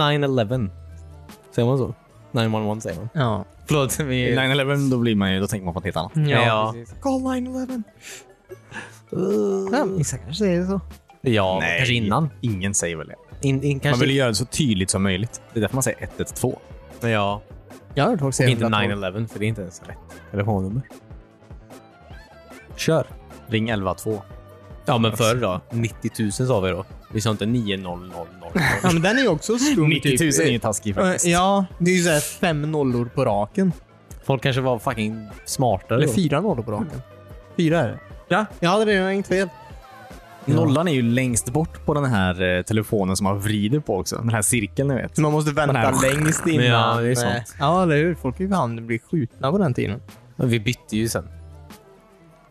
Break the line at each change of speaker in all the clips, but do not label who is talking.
9-11. Säger man så? 911 säger man.
Ja.
Förlåt.
I
Vi...
9-11 då, blir man ju, då tänker man på något helt annat.
Ja,
Ja.
precis.
Call 911.
Ja, vissa kanske säger så.
Ja, kanske innan.
Ingen säger väl det.
In, in,
Man
kanske...
vill ju göra det så tydligt som möjligt. Det är därför man säger 112.
Ja.
Jag har hört folk
Och
säga
inte
112.
911, för det är inte ens rätt telefonnummer. Kör.
Ring 112.
Ja, men
Alltså.
förr då? 90 000 sa vi då. Vi sa inte 9000.
Ja, men den är ju också skum. typ.
90 000 är ju taskig
Eh,
faktiskt.
Ja, det är ju såhär fem nollor på raken.
Folk kanske var fucking smartare
Eller
då.
fyra nollor på raken. Fyra är det.
Ja.
Jag hade redan hängt fel.
Nollan är ju längst bort på den här eh, telefonen som man vrider på också. Den här cirkeln ni vet.
Så man måste
Den
vänta
här-
längst innan.
Ja, det är
Nej.
sant.
Ja, eller hur? Folk i hand blir skjutna på den tiden.
Men vi bytte ju sen.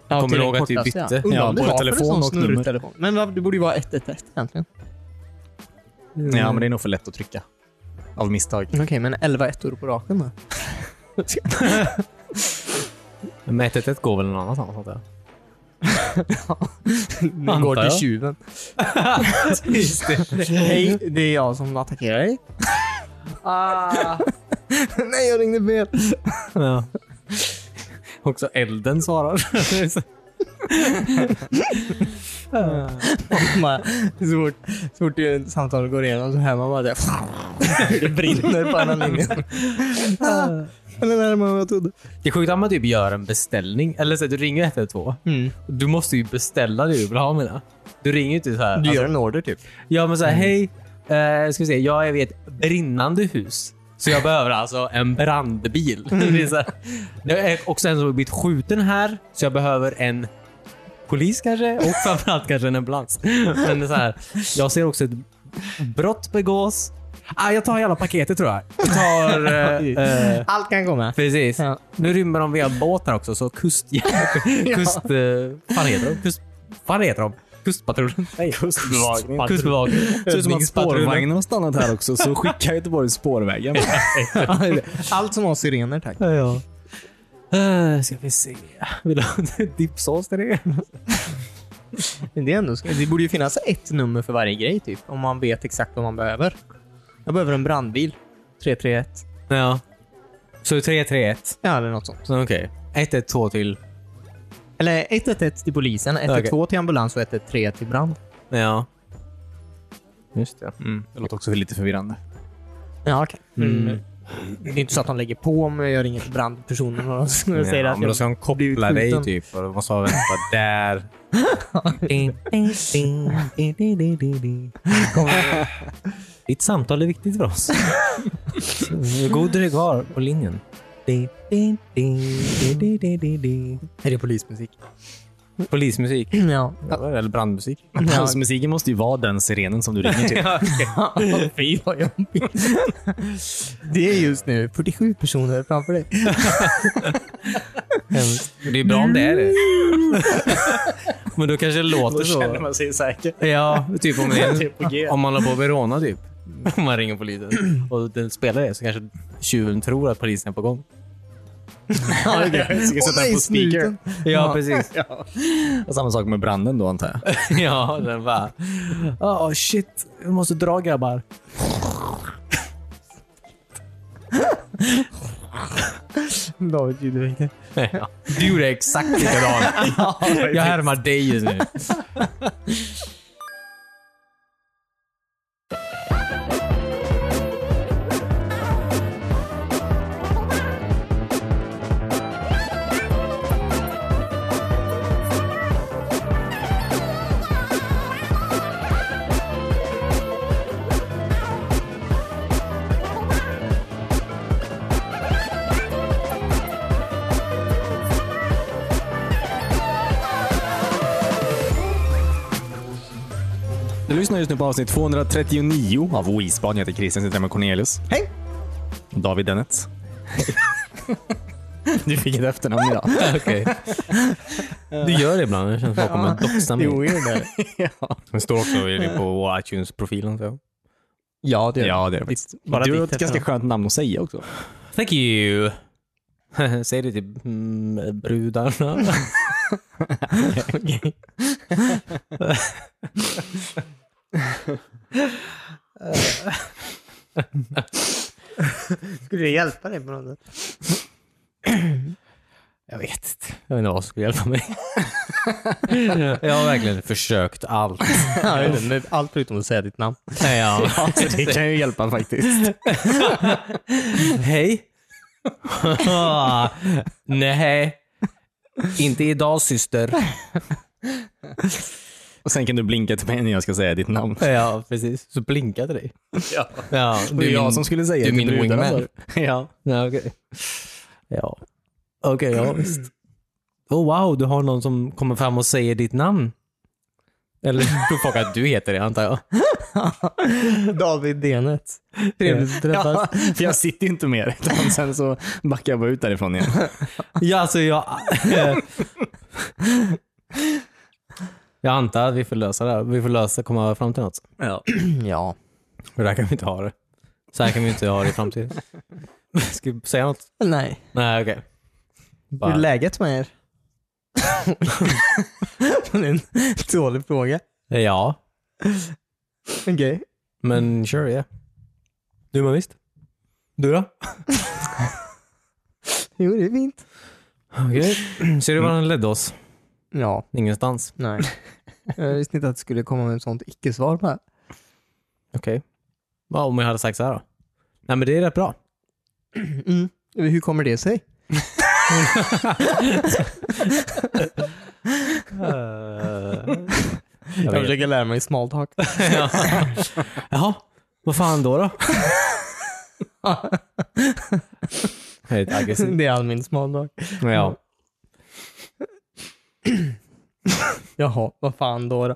Ja,
Kommer
till
du
den
ihåg att vi
kortaste,
bytte?
Undrar
Ja,
om det
både
var för en
telefon
sån
och
snurrig
nummer.
telefon. Men vad- det borde ju vara 111 egentligen. Mm.
Ja, men det är nog för lätt att trycka. Av misstag.
Okej, men 11 ettor på raken då?
Men 111 går väl någon annanstans antar jag?
Nu
Antar
går till
jag.
tjuven. Hej, det är jag som attackerar dig. Nej, jag ringde fel.
Ja. Också elden svarar.
Bara, så, fort, så fort det samtalet går igenom så hör man bara det. det brinner på andra linjen. ah, eller närmare än vad jag trodde.
det är sjukt att man typ gör en beställning. Eller så här, du ringer 112.
Mm.
Du måste ju beställa det du vill ha menar jag. Du ringer ju inte så här.
Du gör en order typ.
Ja, men så här, hej. Eh, ska vi se, jag är vid ett brinnande hus. Så jag behöver alltså en brandbil.
Mm.
Det, är så här, det är också en som har blivit skjuten här, så jag behöver en polis kanske och framförallt kanske en ambulans. Men det är så här, jag ser också ett brott begås. Ah, jag tar hela paketet tror jag. Jag tar... Eh, eh,
Allt kan komma.
precis.
Ja.
Nu rymmer de via båtar också, så kust... kust eh, fan heter de? Kust, fan heter de? Kustpatrullen? Nej.
Kustbevakningen.
Kustbevakningen. Ser ut som att spårvagnen...
har stannat här också, så skicka Göteborg spårvägen.
Allt som har sirener tack.
Ja. Eh, ska vi se. Vill du ha dippsås till det?
Men Det, är ändå, det borde ju finnas ett nummer för varje grej typ. Om man vet exakt vad man behöver. Jag behöver en brandbil. 331.
Ja. Så 331.
Ja, eller något sånt.
Så okej. 112 till...
Eller 111 till polisen, 112 till ambulans och 113 till brand.
Ja.
Just det. Mm. Det låter också lite förvirrande.
Ja, okej. Mm. Det är inte så att de lägger på om jag ringer till brandpersonen och de säger att
men då
jag...
ska de koppla
blivit
dig
skjuten.
typ. Och de måste ha vänta där. Ditt samtal är viktigt för oss. God dröj kvar på linjen.
Är det polismusik?
Polismusik.
Ja.
Eller brandmusik.
Alltså, musiken måste ju vara den sirenen som du ringer till.
Fy vad jobbigt. Det är just nu 47 personer framför dig.
Det är bra om det är det. Mm. Men då kanske det låter så.
man sig säker.
Ja, typ om,
Typ på G.
om man håller på Verona typ. Om man ringer polisen och den spelar det så kanske tjuven tror att polisen är på gång.
Ja,
Jag ska sätta den på speaker.
Ja, precis.
Och samma sak med branden då, antar jag.
Ja, den bara... Ja, shit. Vi måste dra grabbar.
David ljudeffekter.
Ja. Du gjorde exakt likadant. Jag härmar dig just nu.
Du lyssnar just nu på avsnitt 239 av Wispan. Jag heter Christian, sitter här med Cornelius.
Hej!
David Dennett. du fick ett efternamn idag.
Okej. Du gör det ibland. Jag känner att folk kommer att doxa mig.
Jo, jo, det är det.
Den står också i- på iTunes-profilen. så.
Ja, det är det.
Ja, det är det faktiskt.
Bara
Du har
ditt
ett ganska
efternamn.
skönt namn att säga också.
Thank you. Säg det till mm, brudarna.
Okej. Skulle det hjälpa dig på något sätt?
Jag vet inte. Jag vet inte vad som skulle hjälpa mig. jag har verkligen försökt allt.
Ja, jag vet inte, men Allt förutom att säga ditt namn.
Ja.
Så det kan ju hjälpa faktiskt.
Hej. Nej. Inte idag syster.
Och sen kan du blinka till mig när jag ska säga ditt namn.
Ja, precis. Så blinkade dig.
Ja.
Ja,
Det är jag som skulle säga
du är
till
min
brudarna
wingman.
där. Ja.
Ja, okej. Ja. Okej, ja visst. Oh, wow, du har någon som kommer fram och säger ditt namn. Eller du folk att du heter det, antar jag.
David Denet. Trevligt att träffas.
Ja, för jag sitter ju inte mer. Utan sen så backar jag bara ut därifrån igen.
Ja, alltså jag... jag antar att vi får lösa det här. Vi får lösa, komma fram till något.
Ja.
Ja.
För det här kan vi inte ha det. Så här kan vi inte ha det i framtiden. Ska vi säga något?
Nej.
Nej, okej.
Hur är
Bara-
läget med er? det är en dålig fråga.
Ja,
Okej.
men sure, yeah. Mm. Du mår visst? Du då?
Jo, det är fint.
Okej. Ser du var han ledde oss?
Ja.
Ingenstans.
Nej. Jag visste inte att det skulle komma med ett sånt icke-svar på det här.
Okej. Ja, om jag hade sagt så här då? Nej, men det är rätt bra.
Mm. Hur kommer det sig?
Jag vet.
försöker lära mig small talk.
Ja. Jaha, vad fan då då? Jag är lite aggressiv.
det är all min small talk.
Ja.
Jaha, vad fan då? då?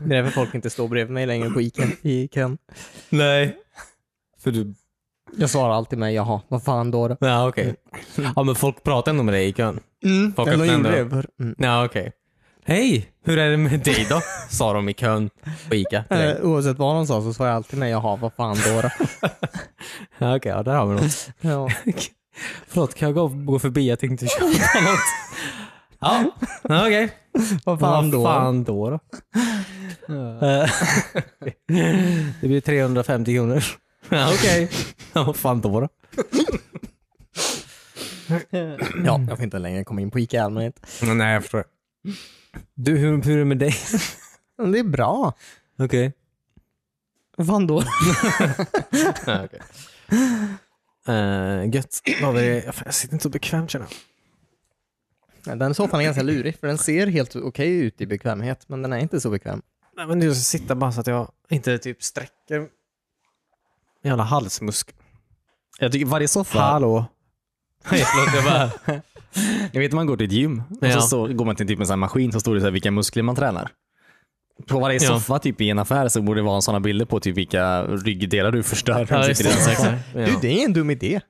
Det är därför folk inte står bredvid mig längre på Ica. Ica.
Nej. För du...
Jag svarar alltid med jaha, vad fan då? då?
Ja, okej. Ja, men folk pratar ändå med dig i kön.
Mm.
Folk
Eller
öppnar
gjorde
ändå.
det för... mm.
Ja, okej. Hej, hur är det med dig då? Sa de i kön på Ica. till dig.
Eh, Oavsett vad de sa så svarar jag alltid med jaha, vad fan då? då?
Ja, okej, ja, där har vi något.
Ja.
Förlåt, kan jag gå, gå förbi? Jag tänkte köpa något. Ja, ja, okej.
Vad fan
Vad
då?
fan då? då? Eh, det blir 350 kronor. Ja, Okej. Ja, Vad fan då? då?
Ja, jag får inte längre komma in på Ica i allmänhet.
Nej, jag förstår. Du, hur, hur är det med dig?
Men Det är bra.
Okej.
Vad fan då?
Okay. Eh, gött. Vad var det? Jag fan, Jag sitter inte så bekvämt känner jag.
Nej, Den soffan är ganska lurig, för den ser helt okej ut i bekvämhet, men den är inte så bekväm.
Nej, men jag ska sitta bara så att jag inte typ sträcker min jävla halsmusk.
Jag tycker varje soffa...
Hallå? Nej, förlåt. Jag bara...
Jag vet när man går till ett gym och
Ja.
så, så går man till typ en sån här maskin så står det så här vilka muskler man tränar. På varje
Ja.
soffa typ i en affär så borde det vara sådana bilder på typ vilka ryggdelar du förstör. när du sitter i den soffan.
Du, det är en dum idé.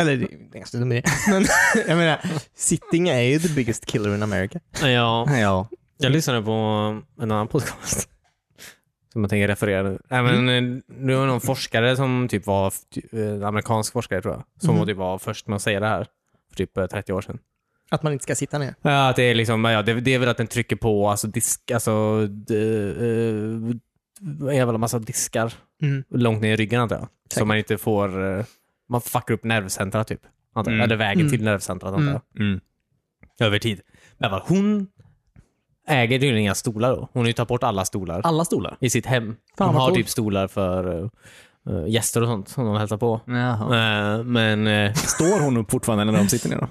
Eller, det är en ganska dum idé. Men jag menar, sitting är ju the biggest killer in America.
Ja.
ja.
Jag lyssnade på en annan podcast. Som jag tänker referera nu. Nej, men, eh, Det var någon forskare som typ var, f- ty- eh, en amerikansk forskare tror jag, som typ var först med att säga det här för typ eh, 30 år sedan.
Att man inte ska sitta ner.
Ja, att det, är liksom, ja, det, det är väl att den trycker på alltså, disk, alltså, d, eh, en jävla massa diskar
Mm.
långt ner i ryggen antar jag. Så
Säkert.
man inte får, eh, man fuckar upp nervcentra typ. Antar jag.
Mm.
Eller vägen till nervcentrat antar jag
Mm.
Mm.
över tid. Men vad, hon äger tydligen inga stolar då. Hon har ju tagit bort alla stolar
Alla stolar?
i sitt hem.
Fan,
hon
vad
har
coolt.
typ stolar för eh, gäster och sånt som de hälsar på. Eh, men... eh,
Står hon upp fortfarande när de sitter ner då?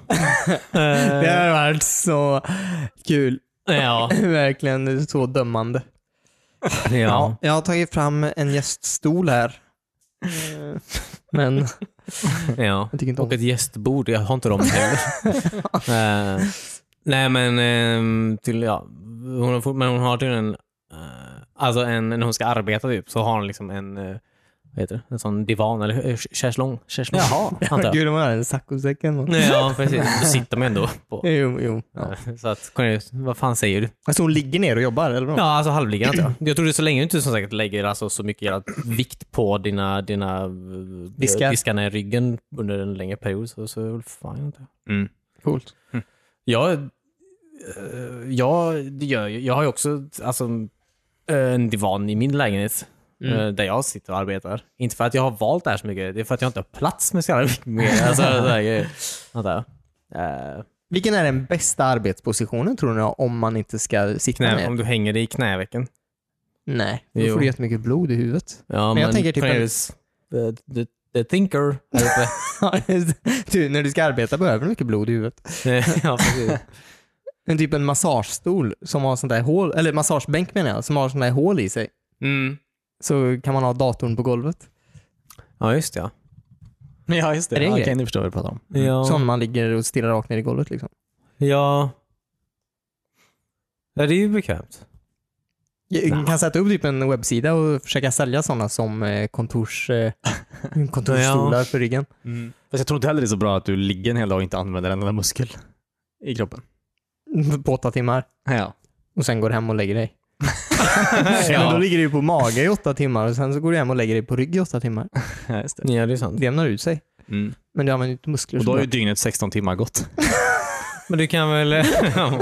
Det har varit så kul.
ja,
Verkligen så dömande.
ja.
jag har tagit fram en gäststol här. Eh, Men
ja.
jag tycker inte om
Och ett gästbord. Jag har inte dem heller. Eh, nej, men... ehm, till, ja. hon, har, fort- men hon har tydligen... eh, alltså, en, när hon ska arbeta typ, så har hon liksom en... eh, vad heter det? En sån divan eller eh, schäslong. Schäslong, antar jag.
Gud, de har en saccosäcken.
Nej, Ja, precis. Då sitter man ändå på.
Jo, jo.
Så att, Cornelius, vad fan säger du?
Alltså hon ligger ner och jobbar, eller vadå?
Ja, alltså halvliggande. antar jag. Jag tror det är så länge du inte som sagt lägger alltså, så mycket jävla vikt på dina, dina eh,
Diskar.
diskarna i ryggen under en längre period så, så är det väl fine. antar jag.
Mm.
Coolt.
Jag, eh, jag, det gör, ju- jag har ju också alltså, en divan i min lägenhet.
Mm.
eh, där jag sitter och arbetar. Inte för att jag har valt det här så mycket, det är för att jag inte har plats med så jävla mycket mer. Alltså, så här, grejer. Vänta. Eh,
Vilken är den bästa arbetspositionen tror ni om man inte ska sitta
Knä,
ner?
om du hänger i knävecken.
Nej, då
Jo.
får du jättemycket blod i huvudet.
ja,
Men jag tänker typ en-
Cornelius, the, the, the thinker. här uppe.
Ja, just det. du, när du ska arbeta behöver du mycket blod i huvudet.
ja, precis.
En typ en massagestol som har sånt där hål, eller massagebänk menar jag, som har sånt där hål i sig.
Mm.
Så kan man ha datorn på golvet.
ja, just det.
Ja, just det.
Är det en
ja,
grej?
okay, nu förstår vad du pratar om.
Ja. Ja.
Som man ligger och stirrar rakt ner i golvet liksom.
ja. Ja, det är ju bekvämt.
Jag kan sätta upp typ en webbsida och försöka sälja sådana som eh, kontors, eh, kontorsstolar för ryggen.
Fast jag tror inte heller det är så bra att du ligger en hel dag och inte använder en enda muskel i kroppen.
På åtta timmar.
Ja.
Och sen går du hem och lägger dig. ja. Men då ligger du ju på mage i åtta timmar och sen så går du hem och lägger dig på rygg i åtta timmar.
ja just det.
Ja, det är sant.
Det jämnar ut sig.
Mm.
Men du använder ju inte muskler
Och
så
då har
bra.
ju
Mm.
dygnet 16 timmar gått.
Men du kan väl... Åh, fan.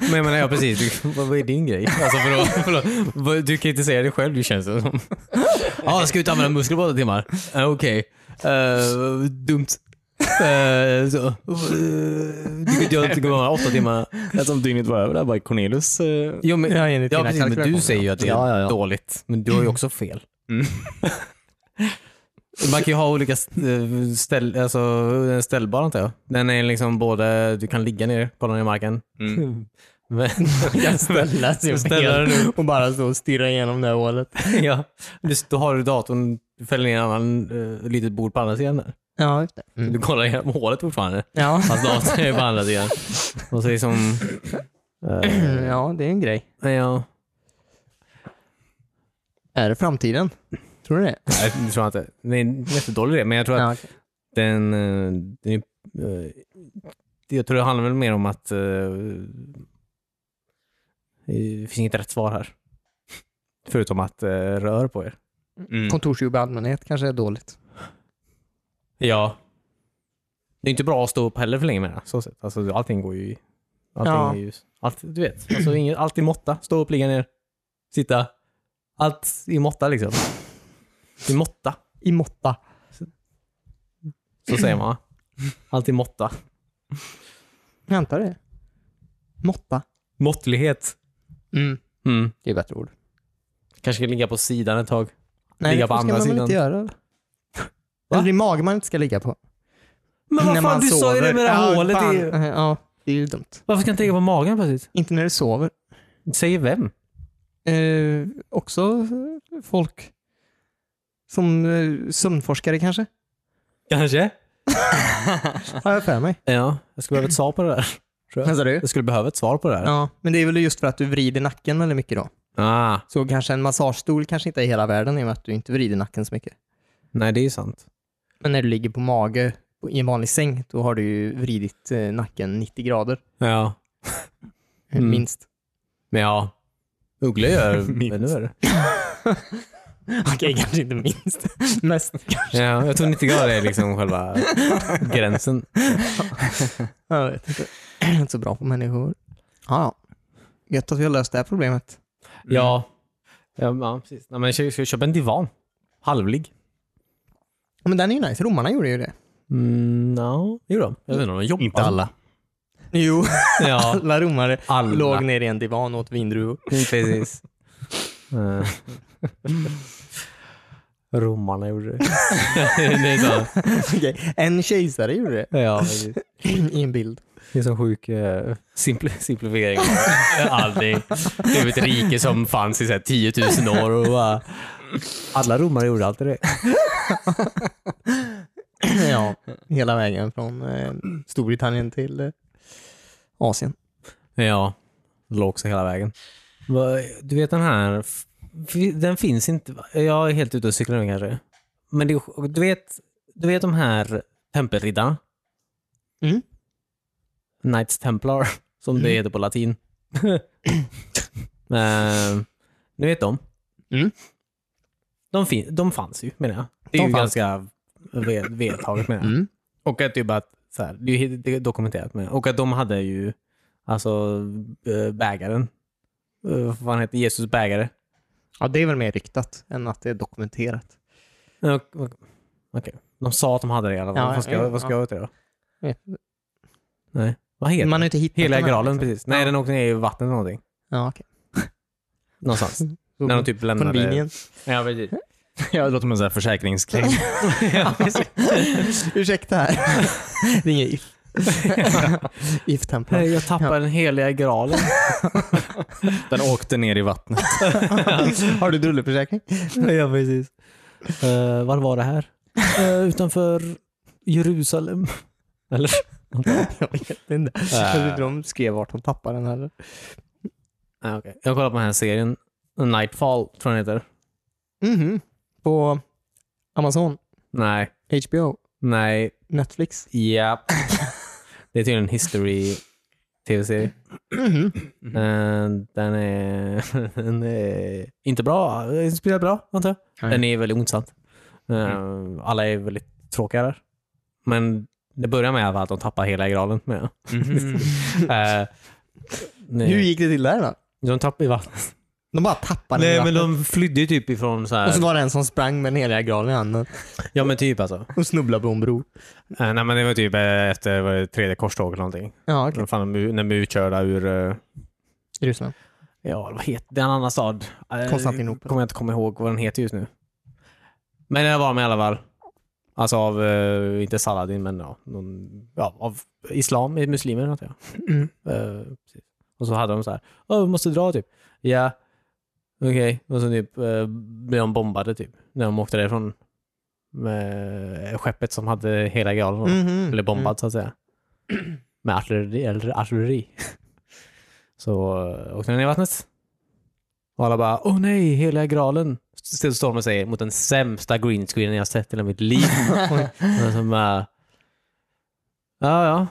men jag menar, ja precis. Du, vad, vad är din grej? Alltså, förlåt, förlåt. Vad- Du kan inte säga det själv, det känns det som. Ja, ska ut och använda muskler på åtta timmar? Eh, Okej. Eh, dumt. Eh, så. Eh, Du kan jag inte gå med åtta timmar.
Alltså om dygnet var över där bara Cornelius... eh,
Jo, men,
Ja, enligt
ja,
dina
precis, men du
kalkylationer,
säger ju att det är
Ja, ja, ja.
dåligt. Men du har ju också fel.
Mm.
Man kan ju ha olika st- ställ, alltså, en ställbar antar jag. Den är liksom både, du kan ligga ner, kolla ner i marken.
Mm.
Men,
kan ställa sig upp
Ställa
helt
den
och bara stå och stirra igenom det här hålet.
ja. Du, då har du datorn, du fäller ner en annan uh, litet bord på andra sidan. Där.
Ja, just det.
Du kollar igenom hålet fortfarande.
Mm. Ja.
Fast datorn är på andra sidan. Och så liksom... eh,
ja, det är en grej.
ja,
Är det framtiden? Tror du det?
nej, det tror jag inte. Det är en jättedålig idé, men jag tror att
Ja, okej. Mm.
den... eh, den är, eh, jag tror det handlar väl mer om att... eh, det finns inget rätt svar här. Förutom att eh, rör på er.
Mm.
Kontorsjobb i allmänhet kanske är dåligt.
Ja. Det är inte bra att stå upp heller för länge med det. Så sett. Alltså, allting går ju i... Allting
Ja.
är ju, allt, du vet. Alltså, inget, allt i måtta. Stå upp, ligga ner, sitta. Allt i måtta liksom. I måtta,
I måtta.
så säger man va? Allt i måtta.
Jag antar det. Måtta.
Måttlighet.
Mm.
Mm.
Det är bättre ord.
Kanske ska ligga på sidan ett tag.
Nej,
Ligga
det
på
ska
andra
man väl
sidan.
inte göra? Eller det är mage man inte ska ligga på.
Men vad fan, du sa ju det med det här hålet.
fan. Eh,
i-
Ja, det är ju dumt.
Varför ska jag inte ligga på magen plötsligt?
Inte när du sover.
Säger vem?
Eh, också eh, folk som eh, sömnforskare kanske?
Kanske.
Har jag för mig.
Ja, jag skulle behöva ett svar på det där.
Vad sa du?
Jag skulle behöva ett svar på det där.
Ja, men det är väl just för att du vrider nacken väldigt mycket då.
Ah,
Så kanske en massagestol kanske inte är hela världen i och med att du inte vrider nacken så mycket.
nej, det är ju sant.
Men när du ligger på mage på- i en vanlig säng, då har du ju vridit eh, nacken 90 grader,
Ja.
eh,
Mm.
minst.
Men ja, ugglor gör
Minst.
ännu värre.
Okej, kanske inte minst. Mest.
Ja, jag tror 90 grader är liksom själva gränsen.
Jag vet inte. Jag är inte så bra på människor. Ja, ja. Gött att vi har löst det här problemet.
Ja. Ja, ja precis. Nej, men ska, ska vi köpa en divan? Halvlig?
Men den är ju nice. Romarna gjorde ju det.
Mm, no. Jo då. Jag vet inte om de jobbar.
Inte alla.
Jo,
Ja,
alla romare
alla.
låg ner i en divan och åt vindruvor.
Precis. Eh. Romarna gjorde det. det är så.
Okej, En kejsare gjorde det
Ja, precis.
i en bild.
Det är så sjuk eh, simpl simplifiering. Aldrig. Det är ett rike som fanns i så här 10 000 år och bara, Alla romare gjorde alltid det.
ja, hela vägen från eh, Storbritannien till eh, Asien.
Ja, låg så hela vägen. Va- Du vet den här, f- den finns inte. va? Jag är helt ute och cyklar nu kanske. Men det, är sj- du, vet, du vet de här tempelriddarna?
Mm.
Knights Templar, som det heter på latin. uh, ni vet dem?
Mm.
De, fin- de fanns ju, menar jag. Det är
De
ju
fanns.
ganska ve- vedertaget, menar jag.
Mm.
Och att typ att, så här, det är ju det är dokumenterat med, och att de hade ju, alltså eh, bägaren, Eh, vad fan heter Jesus bägare?
Ja, det är väl mer ryktat än att det är dokumenterat.
Ja, Eh, och- och- Okej. De sa att de hade det i alla fall.
Ja,
vad ska,
ja,
jag- vad ska
ja.
jag åt det då?
Jag vet
Nej. Vad heter
Man
Man
har inte hittat
Hela
den än,
graalen
liksom.
precis. Nej,
Ja.
den åkte ner i vattnet eller någonting.
Ja, okej.
Någonstans.
Så
När de typ lämnade...
Convenient.
Ja, precis.
Ja, det låter som en sån här försäkringskläng.
Ursäkta här. det är inget if. If-template.
Nej, jag tappade den heliga graalen.
Den åkte ner i vattnet.
Har du drulleförsäkring?
ja, precis. Eh, var var det här? Eh, utanför Jerusalem. Eller?
jag vet inte. Jag tror inte de skrev vart de tappade den heller.
Nej, Ah, okej. Jag kollar på den här serien. Nightfall, tror jag den heter.
Mhm. På Amazon,
Nej.
HBO,
Nej.
Netflix.
Ja. Det är tydligen en history-tv-serie.
Mhm.
Eh, Den är, den är inte bra. Den är Spelar bra, antar jag.
Nej. Mm.
Den är väldigt ointressant. Eh, Alla är väldigt tråkiga där. Men det börjar med att de tappar hela graalen. Med. Eh, nej.
Mhm. Hur gick det till där då?
De tappade i vattnet.
De bara tappade den i
Nej, men
vattnet.
de flydde ju typ ifrån så här.
Och så var det en som sprang med den heliga graalen i handen
Ja, men typ alltså.
och snubblade på en bro.
Eh, nej, men det var typ eh, efter vad var det, tredje korståget eller någonting.
Ja, okej.
Fan, de- när de är utkörda ur... eh,
Ryssland.
Ja, vad heter den annan stad? Eh,
Konstantinopel.
Kommer jag inte komma ihåg vad den heter just nu. Men den var med i alla fall. Alltså av, eh, inte Saladin, men ja, någon, ja, av islam, eh, muslimer antar jag.
Mm.
Eh, precis. och så hade de så här, Åh, vi måste dra typ. Ja, okej. Och så typ, eh, blev de bombade typ, när de åkte därifrån. Med skeppet som hade hela graalen. då.
Mhm.
Eller bombad så att säga. Med artilleri. Eller artilleri. så eh, åkte den ner i vattnet. Och alla bara åh nej, hela graalen. St- Står de och säger mot den sämsta green screenen jag sett i hela mitt liv. och så bara, ja ja.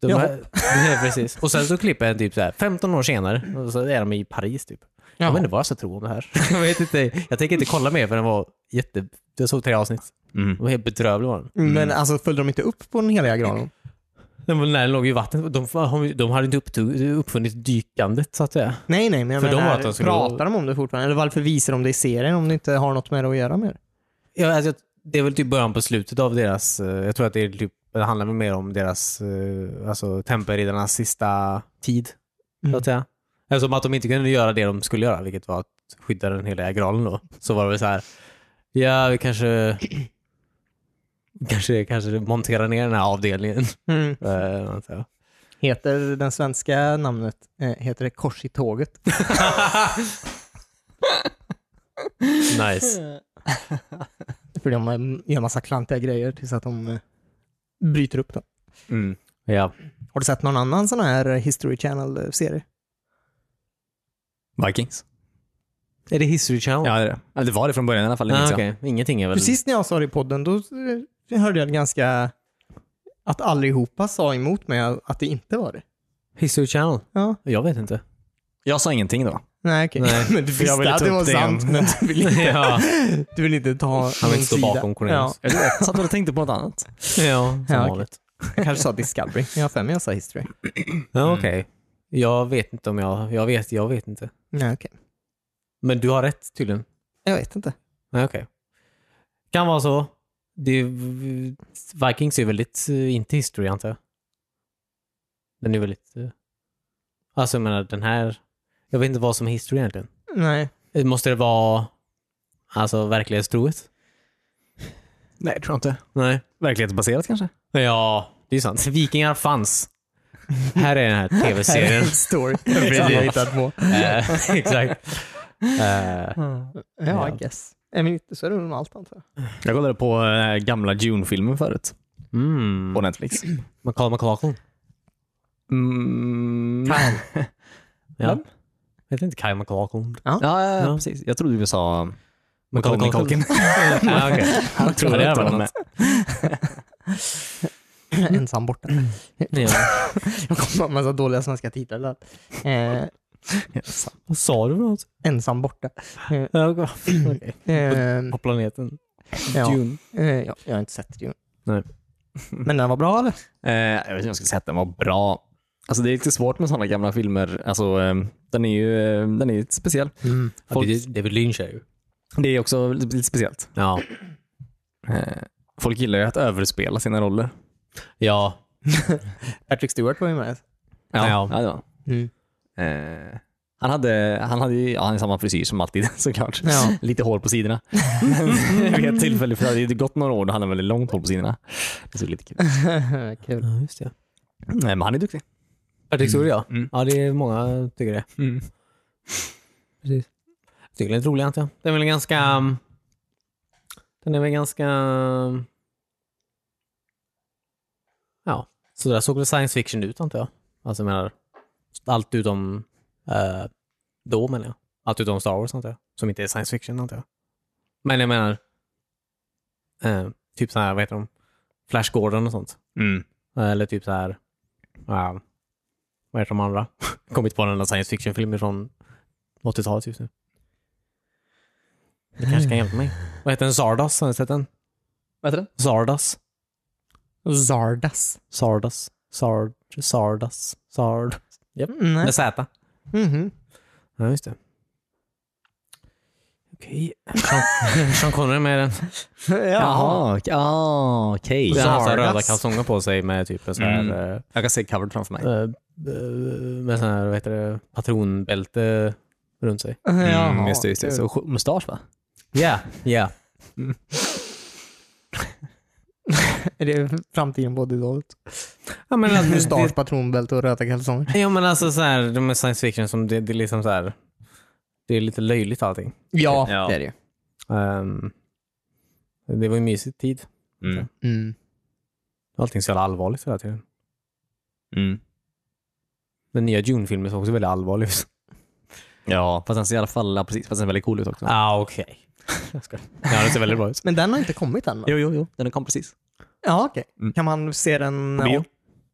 De
Ja.
här, ja, precis. Och sen så klipper jag en typ så här 15 år senare och så är de i Paris typ. Jag vet inte vad jag ska tro om det här. jag, vet inte, jag tänker inte kolla mer för den var jätte... Jag såg tre avsnitt.
Mm.
Den var helt bedrövlig var den.
Mm. Men alltså följde de inte upp på den heliga graalen?
Den var nära låg i vattnet. De, de hade inte upptog, uppfunnit dykandet så att säga.
Nej, nej, men jag
För de var
menar,
att de skulle-
pratar de om det fortfarande? Eller varför visar de det i serien om det inte har något med det att göra mer?
Ja, alltså, jag- det är väl typ början på slutet av deras... eh, Jag tror att det, är typ, det handlar väl mer om deras, eh, alltså tempelriddarnas sista tid. Så
Mm.
att säga. Eftersom att de inte kunde göra det de skulle göra, vilket var att skydda den heliga graalen då. Så var det väl så här, ja vi kanske... Kanske, kanske montera ner den här avdelningen.
Mm.
Eh, antar jag.
Heter den svenska namnet, eh, heter det Kors i tåget?
nice.
För de eh, gör massa klantiga grejer tills att de eh, bryter upp det.
Mm.
Ja.
Har du sett någon annan sån här History Channel-serie?
Vikings.
Är det History Channel?
Ja, det, är det. Eller det var det från början i alla fall. det minns
ah,
jag.
okej. Ingenting är väl...
Precis när jag sa det i podden, då eh, hörde jag ganska... Att allihopa sa emot mig att det inte var det.
History Channel?
Ja.
Jag vet inte.
Jag sa ingenting då.
Nej, okej.
Nej,
men du
för jag ville
visste att
ta
det
upp
var
det igen.
sant, men du vill inte,
ja.
du vill inte ta
Han vill
någon
inte stå
sida.
bakom Cornelius.
Ja.
Jag satt och tänkte på något annat.
ja, som
Ja, okej.
vanligt.
Jag kanske sa Discovery. Jag har för mig jag sa History.
Ja,
Mm.
okej. Jag vet inte om jag... Jag vet, jag vet inte.
Nej, okej.
Men du har rätt tydligen.
Jag vet inte.
Nej, okej. Kan vara så. Det är, Vikings är väldigt... eh, Inte history, antar jag. Den är väldigt... eh, Alltså, jag menar den här... Jag vet inte vad som är history egentligen.
Nej.
Eh, Måste det vara... Alltså verklighetstroet?
Nej, tror jag inte.
Nej.
Verklighetsbaserat kanske?
Ja, det är sant. Vikingar fanns. Här är den här
Här är
tv-serien.
en story. Precis, jag har hittat på.
Eh, Exakt. Eh,
Ja, I guess. Nej, men inte så är det väl med allt antar jag.
Jag kollade på eh, gamla Dune-filmen förut.
Mm.
På Netflix.
McCall McLaughlin.
Mm.
Ja.
Vem?
Heter inte Kyle McLaughlin?
Ja, ja, ja,
Ja.
precis. Jag trodde du sa...
McCall
Macaulay
McLaughlin. Ja, okej.
Jag trodde
det
det
var
var
något.
något.
Ensam borta.
Ja.
Jag kom på en massa dåliga svenska titlar. där. Eh,
Vad sa du för något?
ensam borta. Eh,
Ja, okej.
eh,
På planeten.
ja,
Dune.
eh, ja, jag har inte sett Dune.
Nej.
Men den var bra eller?
Eh, jag vet inte om jag skulle säga att den var bra. Alltså det är lite svårt med sådana gamla filmer. Alltså, eh, den är ju eh, den är lite speciell. Folk-
Ja, David Lynch är ju.
Det är också lite speciellt.
Ja.
Eh, Folk gillar ju att överspela sina roller.
Ja.
Patrick Stewart var ju med.
Ja.
det var.
Mm.
han. Eh, han hade, han hade ju, ja, han hade samma frisyr som alltid såklart.
Ja.
Lite hår på sidorna. Men vid ett tillfälle, för det hade ju gått några år, då hade han väldigt långt hår på sidorna. Det såg lite kul ut.
Kul.
ja just det.
Nej, Men han är duktig.
Patrick Stewart, ja.
Mm.
Ja, det är många tycker det.
Mm.
Precis. Jag tycker den är lite rolig, antar jag. Den är väl ganska... um, Den är väl ganska... um, Ja, så där såg väl science fiction ut, antar jag. Alltså, jag menar, allt utom... eh, då, menar jag. Allt utom Star Wars, antar jag. Som inte är science fiction, antar jag. Men jag menar... eh, typ så här, vad heter de? Flash Gordon och sånt.
Mm.
Eller typ så här... ja, vad heter de andra? Kommit på en enda science fiction-film från 80-talet just nu. Det kanske kan hjälpa mig. Vad heter den? Zardas? Har ni sett den?
Vad heter den?
Zardas?
Zardas.
Zardas? Zard... Zardas? Zard...
Nej.
Med Z.
Mhm.
Ja, just det. Okej. Sean- Sean Connery med den.
Jaha.
Jaha, ja, okej.
Den har så här röda
Zardas.
kalsonger på sig med typ en sån här...
Mm.
eh,
Jag kan se covered framför mig.
eh, med sån här, vad heter det, patronbälte runt sig.
Jaha,
Mm, just det, just det.
kul.
Så sk- mustasch va?
Ja, ja.
Är det framtiden på idolet?
Ja, men alltså, det-
Mustasch, patronbälte och röda kalsonger.
Ja men alltså så här, de är science fiction som det, det är liksom så här, det är lite löjligt allting.
Ja,
Ja.
det är det ju.
Ehm, det var ju mysig tid.
Mm.
Mm.
Allting är så jävla allvarligt hela tiden.
Mm.
Den nya Dune-filmen såg också väldigt allvarlig ut.
Ja, fast den ser i alla fall, ja, precis, fast den ser väldigt cool ut också.
Ah, okej. Okay. ja, det ser väldigt bra ut.
Men den har inte kommit än va?
Jo, jo, jo. Den kom precis.
Ja, okej.
Mm.
Kan man se den...
På bio.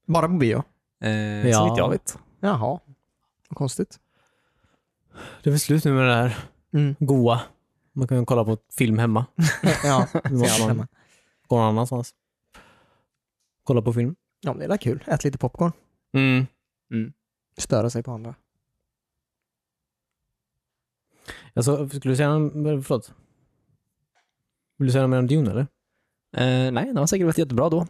Bara på bio?
Eh,
Ja.
Så vitt jag vet.
Jaha. Vad konstigt.
Det är väl slut nu med det här
Mm.
goa. Man kan ju kolla på film hemma.
Ja,
Nu måste
hemma.
man gå någon annanstans. Kolla på film.
ja men det är väl kul. Ät lite popcorn.
Mm.
Störa sig på andra.
Alltså, skulle du säga någon, förlåt. Vill du säga något mer om Dune eller?
Eh, nej, den har säkert varit jättebra då. Eh,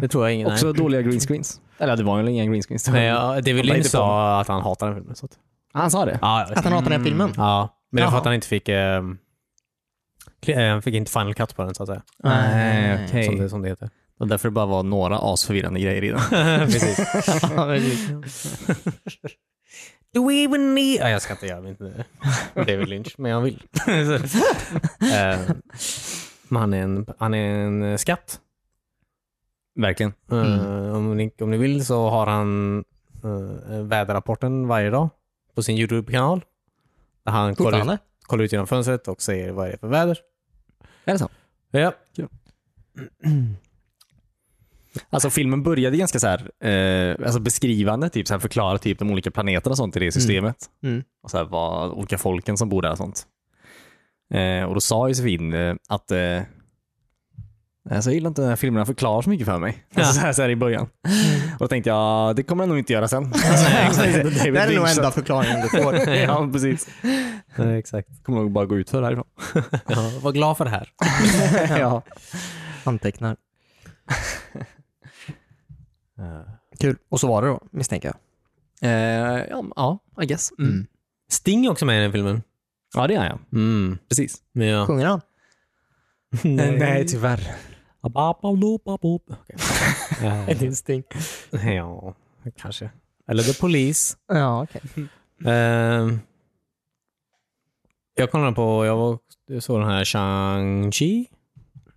Det tror jag ingen.
också
nej.
dåliga green screens. Eller det var ju inga green screens.
Nej, ja, David
inte
Lynch
på
sa att han hatar den filmen. Så att...
Han sa det?
ja,
Att han hatar den här filmen?
Ja, men det var för
Jaha.
att han inte fick... ehm, kli- eh, han fick inte final cut på den så att säga.
Nej, okej.
Som, det, som det heter.
Eh, Det var därför det bara var några asförvirrande grejer i den.
Precis. Do we even need... Ja, jag ska inte göra inte David Lynch, men jag vill. Eh, men han är en, han är en eh, skatt.
Verkligen.
Eh, om, ni, om ni vill så har han eh, väderrapporten varje dag på sin Youtube-kanal. Där han kollar ut,
Fortfarande?
kollar ut genom fönstret och säger vad det är för väder.
Är det så?
Ja.
Alltså filmen började ganska så här, eh, alltså beskrivande, typ så här förklara typ de olika planeterna och sånt i det systemet.
Mm.
Och så här vad olika folken som bor där och sånt. Eh, och då sa Josefin eh, att eh, alltså, jag gillar inte den här filmen, den förklarar så mycket för mig. Alltså, så, här, så här i början. Och då tänkte jag, det kommer den nog inte göra sen.
Det här är nog enda förklaringen du får.
ja, precis.
exakt.
Kommer nog bara gå ut för härifrån.
Ja, var glad för det här.
ja.
Antecknar. Kul. Och så var det då, misstänker jag.
Eh, ja, ja, I guess. Mm.
Mm.
Sting är också med i den filmen.
Ja, det är jag.
Mm.
Precis. Eh,
Men ja.
Sjunger han?
tyvärr.
Abapalopapop. Okej.
Ett instinkt.
Eh, ja, kanske. Eller The Police.
Ja, okej.
Ehm, jag kollade på, jag var, jag såg den här Shang-Chi.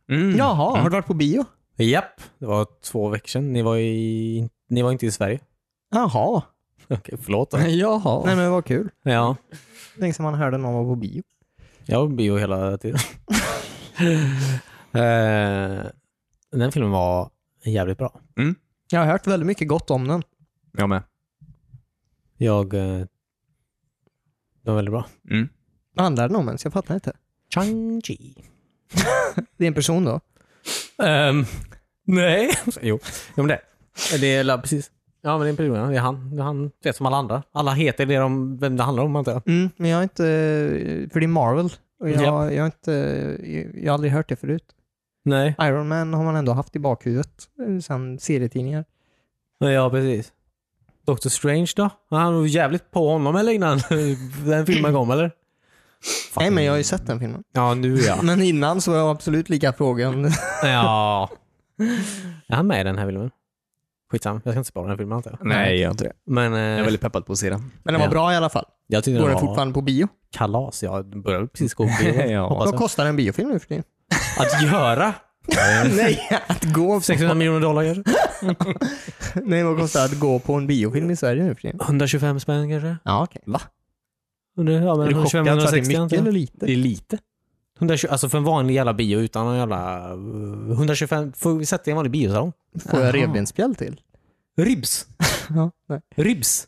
Mm.
Jaha, har du varit på bio?
Japp, det var två veckor sedan. Ni var, i, ni var inte i Sverige.
Jaha.
Okej, förlåt.
Jaha.
Nej men vad kul.
Ja,
Tänk som man hörde någon vara på bio.
jag var på bio hela tiden. Eh, den filmen var jävligt bra.
Jag har hört väldigt mycket gott om den.
Jag med.
Jag... eh, Det var väldigt bra.
Mm.
Vad handlar den om ens? Jag fattar inte.
Chang Chi.
Det är en person då?
Ehm, nej. jo, jo men det. Det är la- precis. Ja, men det är en pilgrim. Det är han. Det är han vet som alla andra. Alla heter det de, vem det handlar om, antar jag.
Mm, men jag har inte... För det är Marvel. Och jag,
Japp.
jag, har inte, jag har aldrig hört det förut.
Nej.
Iron Man har man ändå haft i bakhuvudet eh, sen serietidningar.
Ja, precis. Doctor Strange då? Han var jävligt på honom eller innan den filmen kom, eller?
Nej, men jag har ju sett den filmen.
Ja, nu ja.
Men innan så var jag absolut lika frågan.
ja. Är han med i den här filmen? Skitsam. Jag ska inte spara den här filmen, antar jag.
Nej, jag är inte det.
Men eh,
Jag är väldigt peppad på att se den.
Men den var
Ja.
bra i alla fall.
jag tyckte den
Går den
var
fortfarande på bio?
kalas. Jag började precis gå på bio.
ja.
Hoppas
Vad
jag.
kostar en biofilm nu för tiden?
Att göra?
Nej, att gå
600 miljoner dollar kanske?
Nej, vad kostar att gå på en biofilm i Sverige nu för tiden?
125 spänn kanske?
Ja, okej. Va?
Under, ja, men
Är du
125,
chockad för att det är
160
mycket
antar jag.
eller lite?
Det är lite. 120, alltså för en vanlig jävla bio utan någon jävla... eh, 125... Får vi sätta i en vanlig biosalong?
Får jag
Jaha.
revbensspjäll till?
Ribs!
Ja, nej.
Ribs!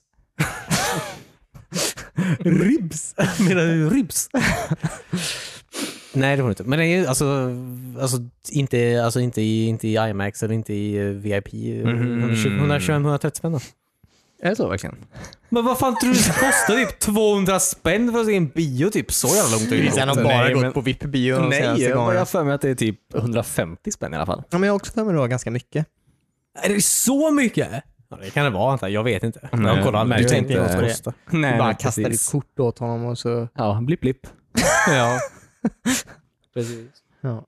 ribs? Menar du ribs? Nej, det får du inte. Men det är ju alltså, alltså, inte, alltså inte, i, inte i IMAX eller inte i eh, VIP.
Mhm.
125-130 spänn då.
Är det så verkligen?
Men vad fan tror du det kostar? Typ 200 spänn för att se en bio typ? Så jävla långt har det
Sen
gått.
har
Nej,
bara gått
men-
på VIP-bio de
Nej,
senaste
jag har
gångerna.
för mig att det är typ 150 spänn i alla fall.
Ja, men jag har också för mig det var ganska mycket.
Är det så mycket? Ja, det kan det vara antar jag. Jag vet inte.
Nej,
jag kollar
men
aldrig.
du
Jag
tänkte
tänkte
inte-
inte kosta.
Nej,
Du bara kastade ett kort åt honom och så...
Ja, blipp blipp.
ja. Precis.
Ja.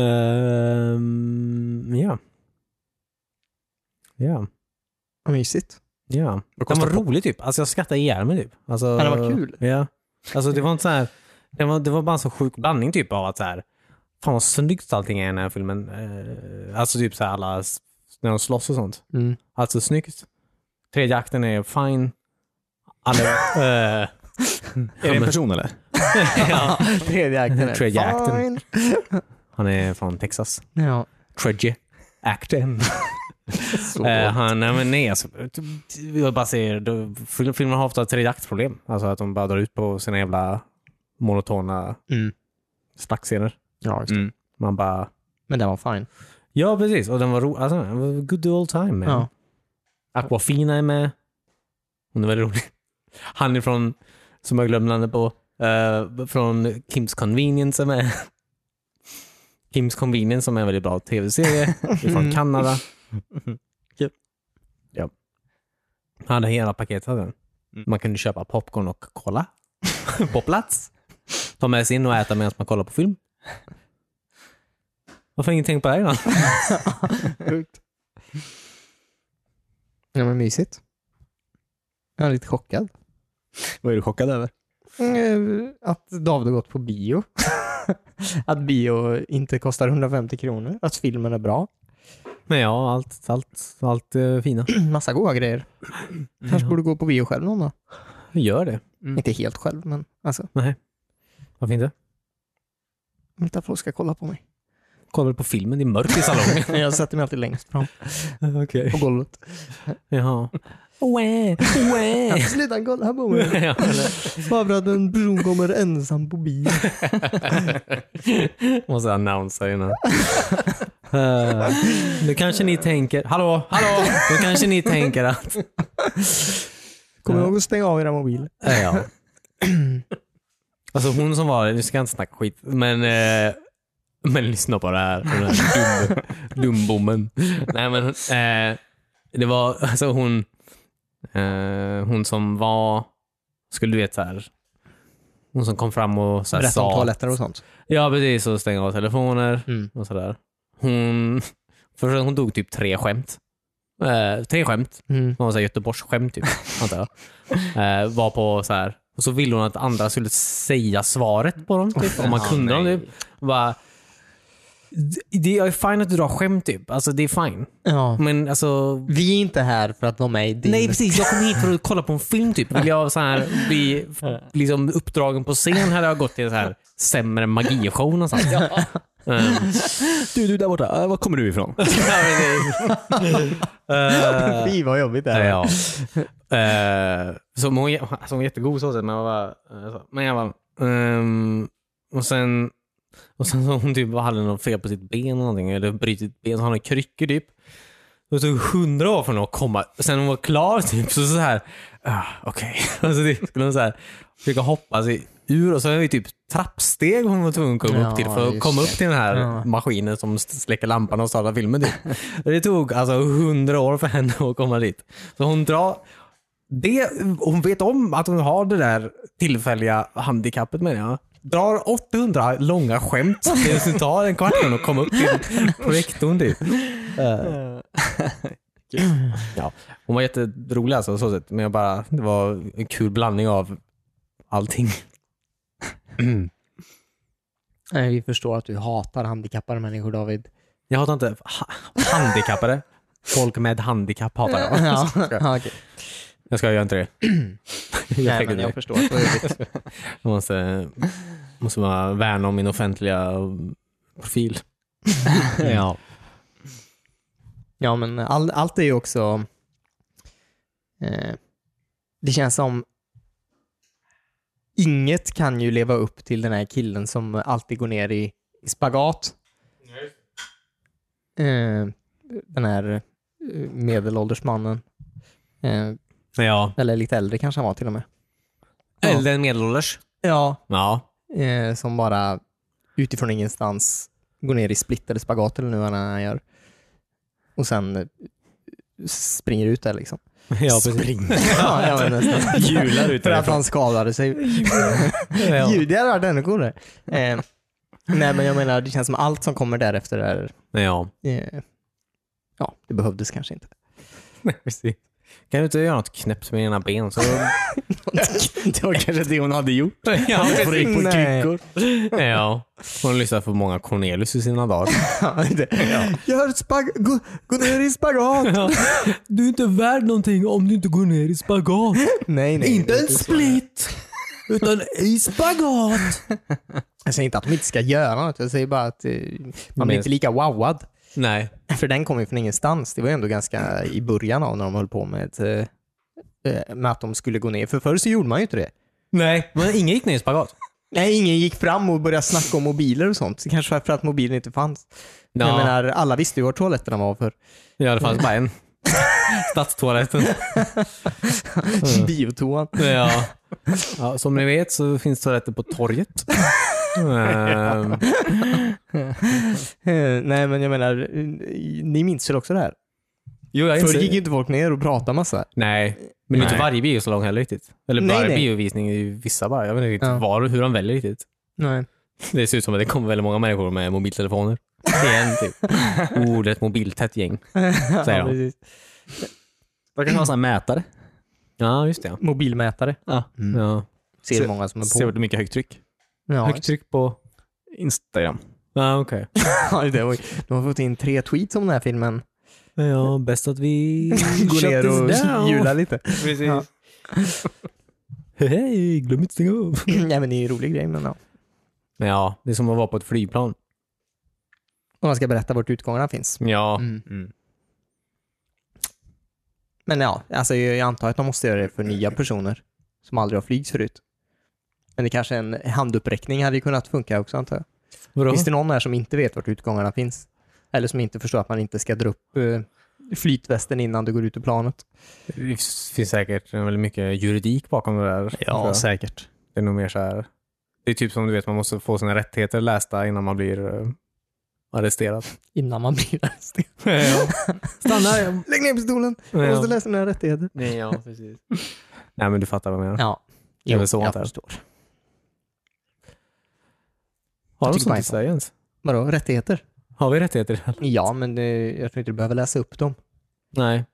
Ehm, ja. Ja.
Vad mysigt.
Ja. Den var rolig typ. Alltså jag skrattade ihjäl mig typ. Alltså,
Ja, den var kul.
Ja. Alltså det var inte så här. Det var, det var bara en så sjuk blandning typ av att så här. Fan vad snyggt allting är i den här filmen. Eh, alltså typ så här alla, s- när de slåss och sånt.
Mm.
Alltså snyggt. Tredje akten är fine. Alla, eh,
Är det en person eller?
ja.
Tredje akten är
Tredje akten.
fine.
Han är från Texas.
Ja.
Tredje akten. Eh, han, nej, men nej, alltså, t- t- jag bara säger, då- fil- filmen har ofta ett redaktproblem. Alltså att de bara drar ut på sina jävla monotona
Mm.
slagscener.
Ja, just det.
Mm.
Man bara,
Men den var fine.
ja precis. Och den var rolig. Alltså, den var good old time. Man.
Ja.
Aquafina är med. Hon är väldigt rolig. Han är från, som jag glömde namnet på, eh, från Kims Convenience är med. Kims Convenience som är en väldigt bra tv-serie. är från Kanada.
Kul.
Ja. Han hade hela paketet. hade han. Man kunde köpa popcorn och cola på plats. Ta med sig in och äta medan man kollar på film. Varför har ingen tänkt på det här innan?
Sjukt. Ja, men mysigt. Jag är lite chockad.
Vad är du chockad över?
Mm, Att David har gått på bio. att bio inte kostar 150 kronor. Att filmen är bra.
Men ja, allt, allt, allt eh, fina.
Massa goda grejer. Kanske borde gå på bio själv någon dag.
Gör det.
Inte helt själv, men alltså.
Varför inte?
Inte att folk ska kolla på mig.
Kollar du på filmen? Det är mörkt i salongen.
Jag sätter mig alltid längst fram
Okej.
på golvet.
Jaha. Wä, wä.
Sluta kolla på mig.
Ja,
Bara för att en person kommer ensam på bio.
eller- Måste annonsa innan. Eh, Nu kanske ni tänker, hallå, hallå! Nu kanske ni tänker att...
Kom ihåg att stänga av era mobiler.
Eh, Ja. Alltså hon som var, nu ska jag inte snacka skit, men, eh, men lyssna på det här. Den här dum, dumbommen. Nej men, eh, det var alltså hon, eh, hon som var, skulle du veta så här, hon som kom fram och så här,
Berätta om
sa
toaletter och sånt.
Ja, precis. Och stänga av telefoner
Mm.
och sådär. Hon, först, hon tog typ tre skämt. Eh, tre skämt.
Mm.
Någon sån här Göteborgsskämt typ, antar jag. Eh, var på så här. Och så ville hon att andra skulle säga svaret på dem, typ, om man
Ja,
kunde dem.
nej.
Typ. Och Bara, "Det- det är fine att du drar skämt, typ. Alltså, det är fine.
Ja.
Men alltså,
Vi är inte här för att vara med i din...
Nej precis, jag kom hit för att kolla på en film typ. Vill jag så här bli f- liksom uppdragen på scen hade jag gått till en så här sämre magishow någonstans. Ehm,
Du, du där borta. Äh, Var kommer du ifrån?
Eh,
Fy vad jobbigt det här
ja. Eh, så hon, alltså hon var jättegod så sett, men jag var eh, så- men jag var ehm, och sen och sen så hon typ hade något fel på sitt ben eller någonting, eller brutit ben, så har hon kryckor typ. Det tog hundra år för henne att komma. Sen hon var klar typ, så så här, ah, okej. Alltså, det skulle hon så här, försöka hoppa sig ur och så var det typ trappsteg hon var tvungen att komma
Ja,
upp till för att
just
komma upp
det.
till den här
Ja.
maskinen som s- släcker lampan och startar filmen. Typ. det tog alltså hundra år för henne att komma dit. Så hon drar det, hon vet om att hon har det där tillfälliga handikappet menar jag. Drar 800 långa skämt. Det tar en kvart att komma upp till projektorn typ. Eh, ja. Hon var jätterolig alltså, så sett, men jag bara, det var en kul blandning av allting.
Nej, vi förstår att du hatar handikappade människor, David.
Jag hatar inte ha handikappade. Folk med handikapp hatar jag.
ja, ja, okej.
Jag ska göra inte det. Jag
Nej,
tänker
men
inte
jag
det.
förstår. Så är det.
Jag måste, måste bara värna om min offentliga profil.
ja.
Ja, men all, allt är ju också... Eh, det känns som... Inget kan ju leva upp till den här killen som alltid går ner i, i spagat. Eh, den här eh, medelålders mannen. Eh,
Ja.
eller lite äldre kanske han var till och med.
Eller en medelålders.
Ja,
Ja.
eh, som bara utifrån ingenstans går ner i split eller spagat eller nu vad han gör. Och sen eh, springer ut där liksom.
Ja,
Spring.
ja, ja, men nästan.
Hjular ut
För att
därifrån.
han skadade sig.
Ja.
Ljud, det hade varit ännu coolare. Eh, nej, men jag menar, det känns som allt som kommer därefter är...
ja.
Eh, ja, det behövdes kanske inte.
Kan du inte göra något knäppt med dina ben? Så...
Det var kanske det hon hade gjort.
ja,
Hon gick på
Nej.
kryckor.
ja. Hon lyssnar för många Cornelius i sina dagar.
Ja, det- Jag hör ett spag... Gå, gå ner i spagat!
Du är inte värd någonting om du inte går ner i spagat.
nej, nej. det är så.
split, utan i spagat.
Jag säger inte att de inte ska göra något. Jag säger bara att eh, man blir
Men-
inte lika wowad.
Nej.
För den kom ju från ingenstans. Det var ju ändå ganska i början av när de höll på med, ett, eh, eh, med att de skulle gå ner. För förr så gjorde man ju inte det.
Nej, men ingen gick ner i spagat.
Nej, ingen gick fram och började snacka om mobiler och sånt. Det kanske var för att mobilen inte fanns. Men Jag
Ja.
menar, alla visste ju var toaletterna var för.
Ja, det fanns bara en. Stadstoaletten. Mm.
Biotoan.
Ja. ja. Som ni vet så finns toaletter på torget. Ehm,
Eh, Nej, men jag menar, eh, ni minns väl också det här?
jo, jag
Förr
inser-
gick ju inte folk ner och pratade massa.
Nej, men det är inte
Nej.
varje bio så lång heller riktigt. Eller
Nej,
varje
nej.
biovisning är ju vissa bara. Jag vet inte riktigt
Ja.
var och hur de väljer riktigt.
Nej.
Det ser ut som att det kommer väldigt många människor med mobiltelefoner. Det är en typ. Oh, det är ett mobiltätt gäng. Säger
ja,
jag.
precis.
De kanske har sån här mätare.
Ja, just det. ja. Mm.
Mobilmätare.
Ja.
Ja.
Ser
Ser-
många som
Ser
är
hur
på.
mycket högtryck.
Mm. Ja,
Högt tryck på...
Instagram.
Ja, okej.
ja, det var, de har fått in tre tweets om den här filmen.
Ja, bäst att vi...
Gå
shut
ner
this
och
down.
jula lite.
Precis.
Ja.
Hej, glöm inte stänga av.
Nej, men det är ju en rolig grej. Men ja.
Ja, det är som att vara på ett flygplan.
Om man ska berätta vart utgångarna finns.
Ja.
Mm. Men ja, alltså jag jag antar att de måste göra det för nya personer som aldrig har flygts förut. Men det kanske en handuppräckning hade ju kunnat funka också antar jag.
Vadå?
Finns det någon här som inte vet vart utgångarna finns? Eller som inte förstår att man inte ska dra upp eh, flytvästen innan du går ut ur planet?
Det finns säkert väldigt mycket juridik bakom det där. tror
Ja,
jag.
säkert.
Det är nog mer så här. Det är typ som du vet, man måste få sina rättigheter lästa innan man blir eh, arresterad.
Innan man blir arresterad.
Stanna!
Lägg ner pistolen! Jag måste läsa mina rättigheter.
Nej, ja, precis. Nej, men du fattar vad jag menar.
Ja,
Det är väl så
jag
antar jag.
förstår.
Har
jag
de
tycker
sånt
bara
i Sverige ens?
Vadå, rättigheter?
Har vi rättigheter?
Ja, men eh, jag tror inte du behöver läsa upp dem.
Nej.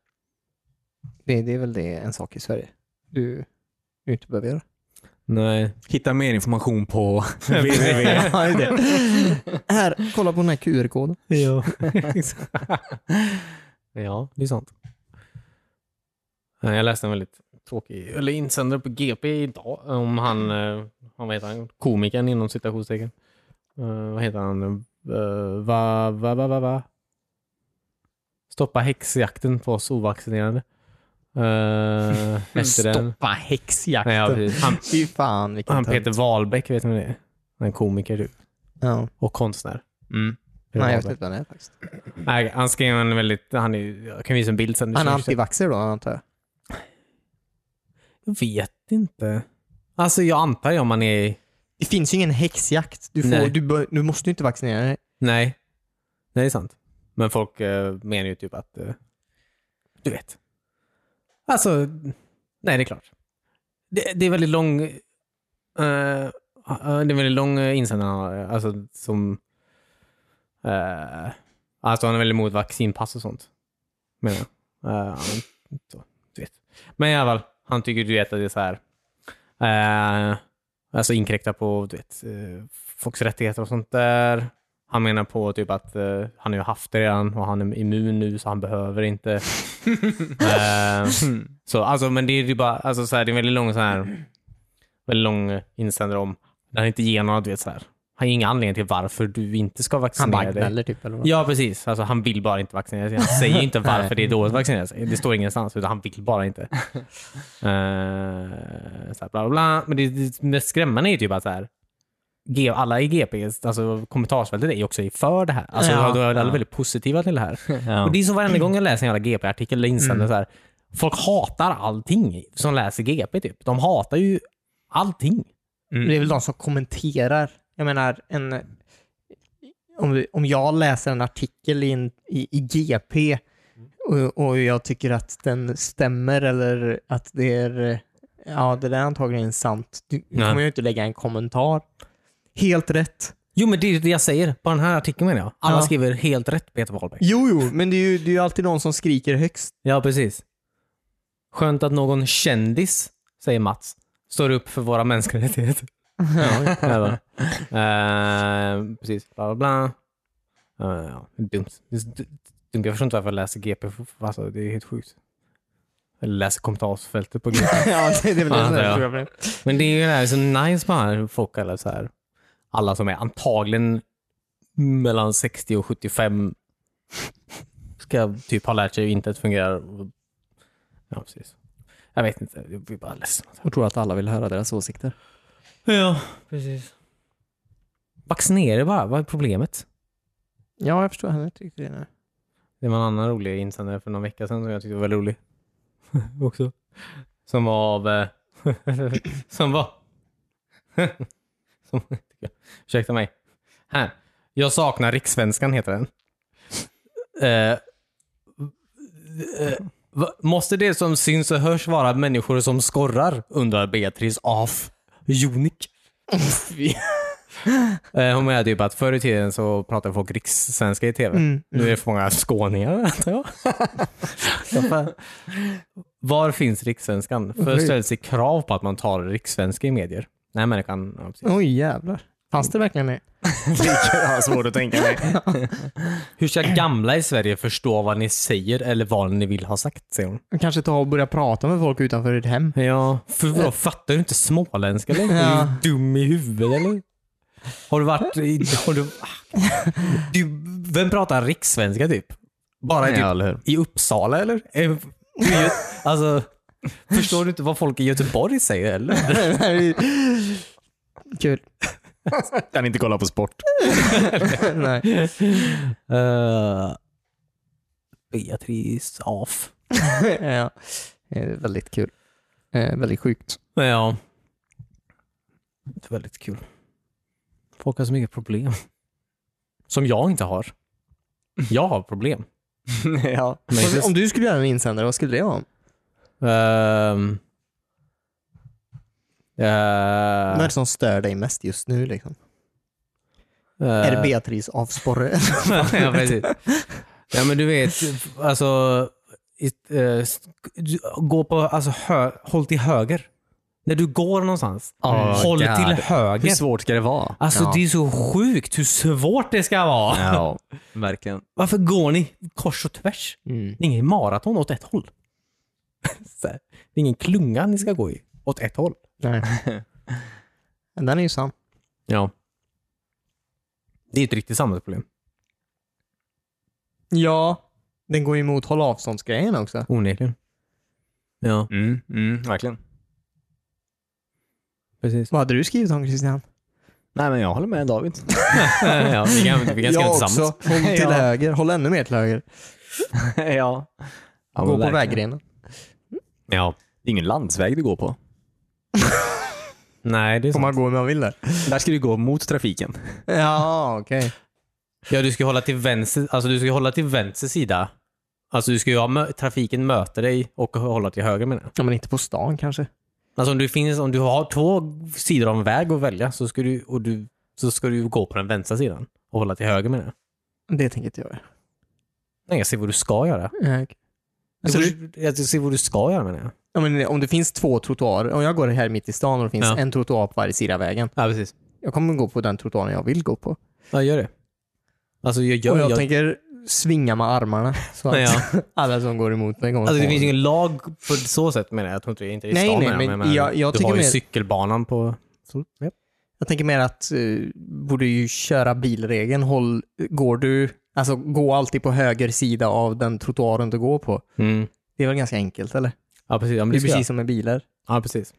Det, det är väl det en sak i Sverige du, du inte behöver göra.
Nej.
Hitta mer information på Mm.
www.
Ja, det är det. Här, kolla på den här QR-koden.
Ja. ja, det är sant. Nej, Jag läste en väldigt tråkig, eller insändare på GP idag om han,
Mm.
eh, han vad heter han, komikern inom citationstecken. Eh, vad heter han? Eh, va, va, va, va, va? Stoppa häxjakten på oss ovaccinerade. Uh, efter den.
Stoppa häxjakten.
Nej, ja, precis. han,
Fy fan vilken
han
tönt.
Peter Wahlbeck, vet ni vem det är? En komiker typ.
Ja.
Mm.
Och konstnär. Hur
Nej,
var
jag vet
det?
inte vad det är faktiskt.
Nej, han skrev en väldigt... Han är, ju- jag kan visa en bild sen.
Han är antivaxxer då, antar jag.
Jag vet inte. Alltså jag antar ju om man är...
Det finns ju ingen häxjakt. Du, får,
Nej.
du, bör- du måste ju inte vaccinera dig.
Nej. Nej, det är sant. Men folk eh, menar ju typ att... Eh, du vet. Alltså, nej det är klart. Det, det är väldigt lång... eh, eh, det är väldigt lång eh, insändare han har, eh, alltså som... eh, alltså han är väldigt emot vaccinpass och sånt. Menar jag. Eh, han- så, du vet. Men i alla fall, han tycker du vet att det är så här... eh, alltså inkräkta på du vet, eh, folks rättigheter och sånt där. Han menar på typ att eh, han har ju haft det redan och han är immun nu så han behöver inte. Eh, så, alltså, men det är ju bara, alltså, så här, det är en väldigt lång, så här, väldigt lång eh, insändare om när han inte ger några, du vet så här. Han har ingen anledning till varför du inte ska
Han
vaccinera
bara
dig.
gnäller typ. Eller vad?
Ja, precis. Alltså, han vill bara inte vaccinera sig. Han säger ju inte varför det är dåligt att vaccinera sig. Det står ingenstans, utan han vill bara inte. Eh, så här, bla, bla, bla. Men det, det mest skrämmande är ju typ att så här, G- alla i GP, alltså kommentarsfältet, är ju också för det här. Alltså,
Ja.
de är alla
Ja.
väldigt positiva till det här.
Ja.
Och Det är så varenda gång jag läser en jävla GP-artikel eller insändare,
Mm.
så här, folk hatar allting som läser GP. Typ. De hatar ju allting.
Mm. Det är väl de som kommenterar. Jag menar, en, om, vi- om jag läser en artikel i, en, i, i GP och, och jag tycker att den stämmer eller att det är ja, det där är antagligen sant, då
Nej.
kommer jag ju inte lägga en kommentar. Helt rätt.
Jo, men det är ju det jag säger. På den här artikeln menar jag. Alla
Ja.
skriver helt rätt, Peter Wahlberg.
Jo, jo, men det är ju, det är ju alltid någon som skriker högst.
Ja, precis. Skönt att någon kändis, säger Mats, står upp för våra mänskliga rättigheter. Eller, eh, precis, bla bla bla. Eh, ja, det är dumt. Det är så dumt. Jag förstår inte varför jag läser GP. Alltså, det är helt sjukt. Eller läser kommentarsfältet på GP.
ja, det, det är väl
Ja,
det som
det är
är
jag.
det stora problemet.
Men det är ju det här så nice med här folk, alla, så här, alla som är antagligen mellan 60 och 75 ska typ ha lärt sig hur internet fungerar. Ja, precis. Jag vet inte, jag blir bara ledsen.
Och tror att alla vill höra deras åsikter.
Ja, precis. Vaccinera er bara, vad är problemet?
Ja, jag förstår heller inte riktigt det. nu.
Det var en annan rolig insändare för någon vecka sedan som jag tyckte var väldigt rolig. Också. Som var av... eh, som var... som, ursäkta mig. Här. Jag saknar rikssvenskan heter den. Eh, eh, va- måste det som syns och hörs vara människor som skorrar? Undrar Beatrice af Jonik. Eh, Hon menar typ att förr i tiden så pratade folk rikssvenska i tv.
Mm,
Nu är det för många skåningar antar jag. Var finns rikssvenskan? För
Oj.
ställs det krav på att man talar rikssvenska i medier? Nej, människan... Ja, precis.
Oj, jävlar. Fanns det verkligen det?
Jag har svårt att tänka mig.
Hur ska gamla i Sverige förstå vad ni säger eller vad ni vill ha sagt? säger hon.
Kanske ta och börja prata med folk utanför ditt hem.
Ja, för vadå, fattar du inte småländska längre? Är
Ja.
du dum i huvudet eller? Har du varit i... Har du, du, vem pratar rikssvenska typ? Bara i typ
Ja, eller hur?
I Uppsala eller? Eh, i Gö- Alltså, förstår du inte vad folk i Göteborg säger eller?
Kul.
Kan inte kolla på sport.
Nej.
Uh, Beatrice af.
ja. Eh, Väldigt kul. Eh, väldigt sjukt.
Ja. Det är väldigt kul. Folk har så mycket problem. Som jag inte har. Jag har problem.
ja.
Men
Om-
inte-
Om du skulle göra en insändare, vad skulle det vara om?
Eh. Ehm. Eh,
Vad är det som stör dig mest just nu? Liksom? Är det
eh,
Beatrice af Sporre?
ja, precis. Ja, men du vet, alltså... It, eh, sk- du- gå på, alltså hö, håll till höger. När du går någonstans,
Oh,
håll
God.
till höger.
Hur svårt ska det vara?
Alltså
Ja.
det är så sjukt hur svårt det ska vara.
Ja, verkligen.
Varför går ni kors och tvärs?
Mm.
Det är ingen maraton åt ett håll. Så här, det är ingen klunga ni ska gå i åt ett håll.
Nej. Den är ju sann.
Ja. Det är ett riktigt samhällsproblem.
Ja. Den går ju emot håll avståndsgrejen också.
Onekligen. Ja,
Mm, mm, verkligen.
precis.
Vad hade du skrivit om Christian?
Nej, men jag håller med David.
ja, vi kan, vi kan skriva
Jag
tillsammans.
också. Håll till
Ja.
höger. Håll ännu mer till höger.
ja. men
Gå på
verkligen.
väggrenen.
Ja.
Det är ingen landsväg du går på.
Nej, det är
Får
sant.
man gå hur man vill där?
Där ska du gå mot trafiken.
Ja, okej.
Ja, du ska ju hålla till vänster, alltså du ska ju hålla till vänster sida. Alltså du ska ju ha mö- trafiken möta dig och hålla till höger menar jag.
Ja, men inte på stan kanske.
Alltså om du, finns, om du har två sidor av en väg att välja så ska du, och du, så ska du gå på den vänstra sidan och hålla till höger menar jag.
Det tänker inte jag göra.
Nej, jag ser vad du ska göra.
Ja, okej.
Jag
Så
ser,
du,
vad du- jag ser vad du ska göra menar jag.
ja, men om det finns två trottoarer, om jag går här mitt i stan och det finns
Ja.
en trottoar på varje sida av vägen.
Ja, precis.
Jag kommer gå på den trottoaren jag vill gå på.
Ja, gör det. Alltså jag
och
gör...
jag,
Jag,
tänker svinga med armarna så att
Ja.
alla som går emot mig kommer
alltså det
på
finns ju
mig.
ingen lag på så sätt menar jag. Jag tror inte det är inte i
Nej,
stan
nej,
menar
men
jag menar,
jag- jag
Du
tycker
har ju
mer-
cykelbanan på... Så, ja.
Jag tänker mer att eh, borde ju köra bilregeln. Håll, går du, alltså gå alltid på höger sida av den trottoaren du går på.
Mm.
Det är väl ganska enkelt eller?
ja, precis. Ja, men
Det
det
är
ska jag.
precis som med bilar.
Ja, precis.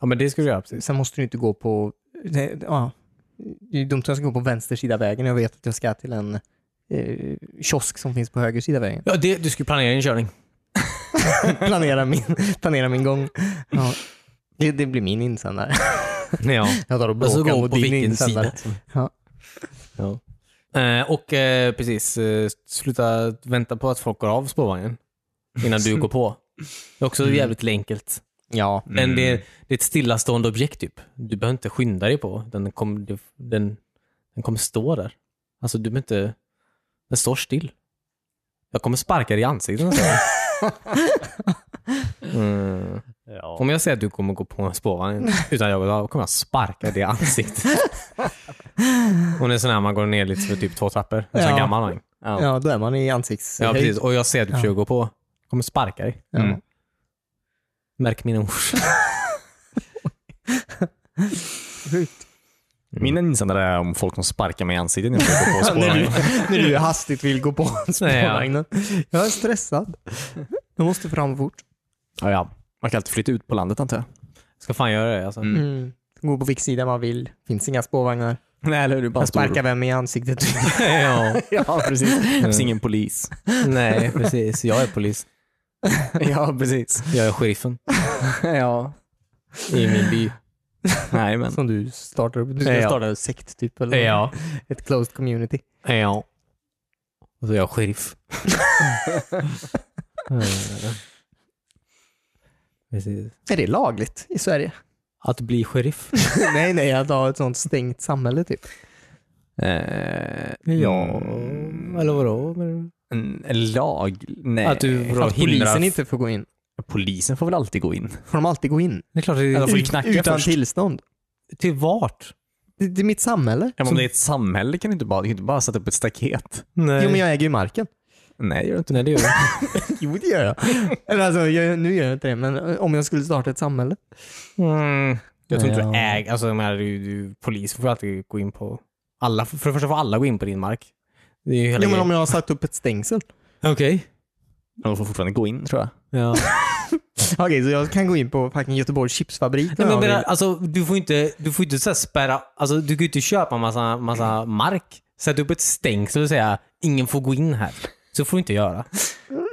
Ja, men det ska du göra. Precis.
Sen måste du inte gå på... det- Ja, det är dumt att jag ska gå på vänster sida av vägen. Jag vet att jag ska till en eh, kiosk som finns på höger sida av vägen.
Ja, det, du ska ju planera din körning.
planera, min, planera min gång. Ja, det, det blir min insändare.
Ja.
Jag tar och
Och så
bråkar
gå
mot
på
din
vilken
insändare.
sida.
Ja.
Ja. Eh, och eh, precis, eh, sluta vänta på att folk går av spårvagnen innan du går på. Det är också jävligt enkelt.
Ja.
Men det, är- det är ett stillastående objekt typ. Du behöver inte skynda dig på. Den kommer den, den kommer stå där. Alltså du behöver inte... Den står still. Jag kommer sparka dig i ansiktet. säger jag. Mm. Om jag säger att du kommer gå på en spårvagn utan jag går av, kommer jag sparka dig i ansiktet. Hon är sån här man går ner lite för typ två trappor. En sån
Ja.
gammal vagn. Ja.
ja, då är man i ansikts...
Ja, precis. Och jag ser att du
Ja.
försöker gå på. Jag kommer sparka dig.
Ja.
Mm.
Märk mina ord.
Sjukt.
Min insändare är om folk som sparkar mig i ansiktet när jag försöker gå på
när, du,
spårvagnen.
när du hastigt vill gå på spårvagnen. Jag är stressad. Jag måste fram fort.
ja, ja. Man kan alltid flytta ut på landet antar jag.
Ska fan göra det alltså.
Mm.
Mm. Gå på vilken sida man vill. Finns inga spårvagnar.
Nej, eller hur? Du
Man sparkar vem i ansiktet
ja.
Ja, precis. Det finns ingen polis.
Nej, precis. Jag är polis.
ja, precis.
Jag är sheriffen
ja.
i min by.
Nej, men.
som du startar upp. Du ska
Ja.
starta en sekt typ, eller ett closed community.
Ja. Och så är jag sheriff. Mm. precis.
Är det lagligt i Sverige?
Att bli sheriff.
nej, nej, att ha ett sånt stängt samhälle typ.
Eh, mm,
Eller vadå? Men-
En en lag? Nej.
Att du vadå,
Att polisen
hindrar...
inte får gå in.
Polisen får väl alltid gå in?
Får de alltid gå in?
Det är klart, det är...
får ju
Ut-
knacka
Utan
först.
tillstånd?
till vart?
Det, det är mitt samhälle.
Ja, men
Som-
om det är ett samhälle kan du inte bara, du kan inte bara sätta upp ett staket.
Nej.
Jo, men jag äger ju marken.
Nej, det gör du inte.
Nej, det gör jag inte.
Jo, det gör jag. Eller alltså, jag, nu gör jag inte det, men eh, om jag skulle starta ett samhälle.
Mm. Jag tror inte
Ja.
du äger... Alltså, jag menar, du, du, polisen får alltid gå in på... Alla, för det första får alla gå in på din mark. Det är ju hela
Jo, men om
grejen.
jag har satt upp ett stängsel.
Okej.
De får fortfarande gå in tror jag.
Ja.
Okej, så jag kan gå in på fucking Göteborgs chipsfabrik om
Nej, men jag
jag
menar,
vill.
alltså, du får inte, du får inte så här spärra, alltså, du kan ju inte köpa massa, massa mark, sätta upp ett stängsel och säga ingen får gå in här. Så får du inte göra.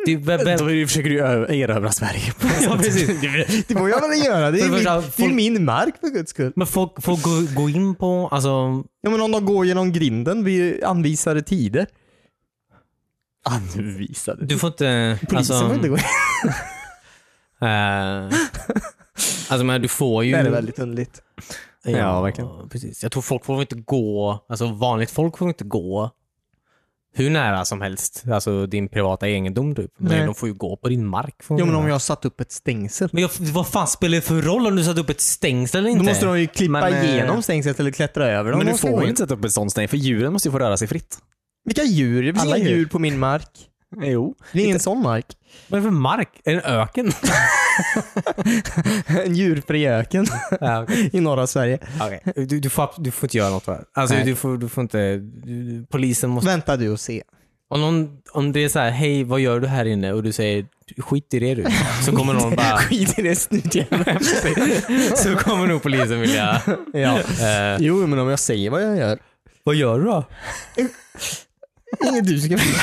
Det, vem, vem,
Då försöker du ö- erövra Sverige.
ja, precis.
Det får jag väl göra? Det är,
För det
min,
första,
det är
folk-
min mark för guds skull.
Men folk får gå, gå in på, alltså,
Ja, men om de går genom grinden vid anvisade tider.
Anvisade.
du får inte...
Polisen
alltså,
får inte gå in.
eh, alltså men du får ju...
mm.
Det är väldigt underligt.
Ja, verkligen.
Precis. Jag tror folk får inte gå, alltså vanligt folk får inte gå hur nära som helst, alltså din privata egendom typ. Men
Nej.
de får ju gå på din mark. får de
Ja, men
göra.
om jag har satt upp ett stängsel.
Men jag, vad fan spelar det för roll om du satt upp ett stängsel eller inte?
Då måste de ju klippa
Men, eh,
igenom stängslet eller klättra över dem.
Men
De
du
måste
får
gå
väl
in.
inte sätta upp ett sånt stängsel? För djuren måste ju få röra sig fritt.
Vilka djur? Det finns
Alla
inga
djur.
djur på min mark.
Jo.
Det är ingen sån mark.
Vad är det för mark? Är det en öken?
En djurfri öken
ja, okej.
i norra Sverige.
Okej. du, du, får, abs- du får inte göra något här. Alltså,
Nej.
du, får, du får inte... Du, polisen måste...
Vänta du och se.
Om, någon, om det är så här, hej vad gör du här inne? Och du säger, skit i det du. Så kommer någon bara,
Skit i det snutjäveln.
så kommer nog polisen vilja,
ja.
eh,
Jo, men om jag säger vad jag gör.
vad gör du då?
Inget du ska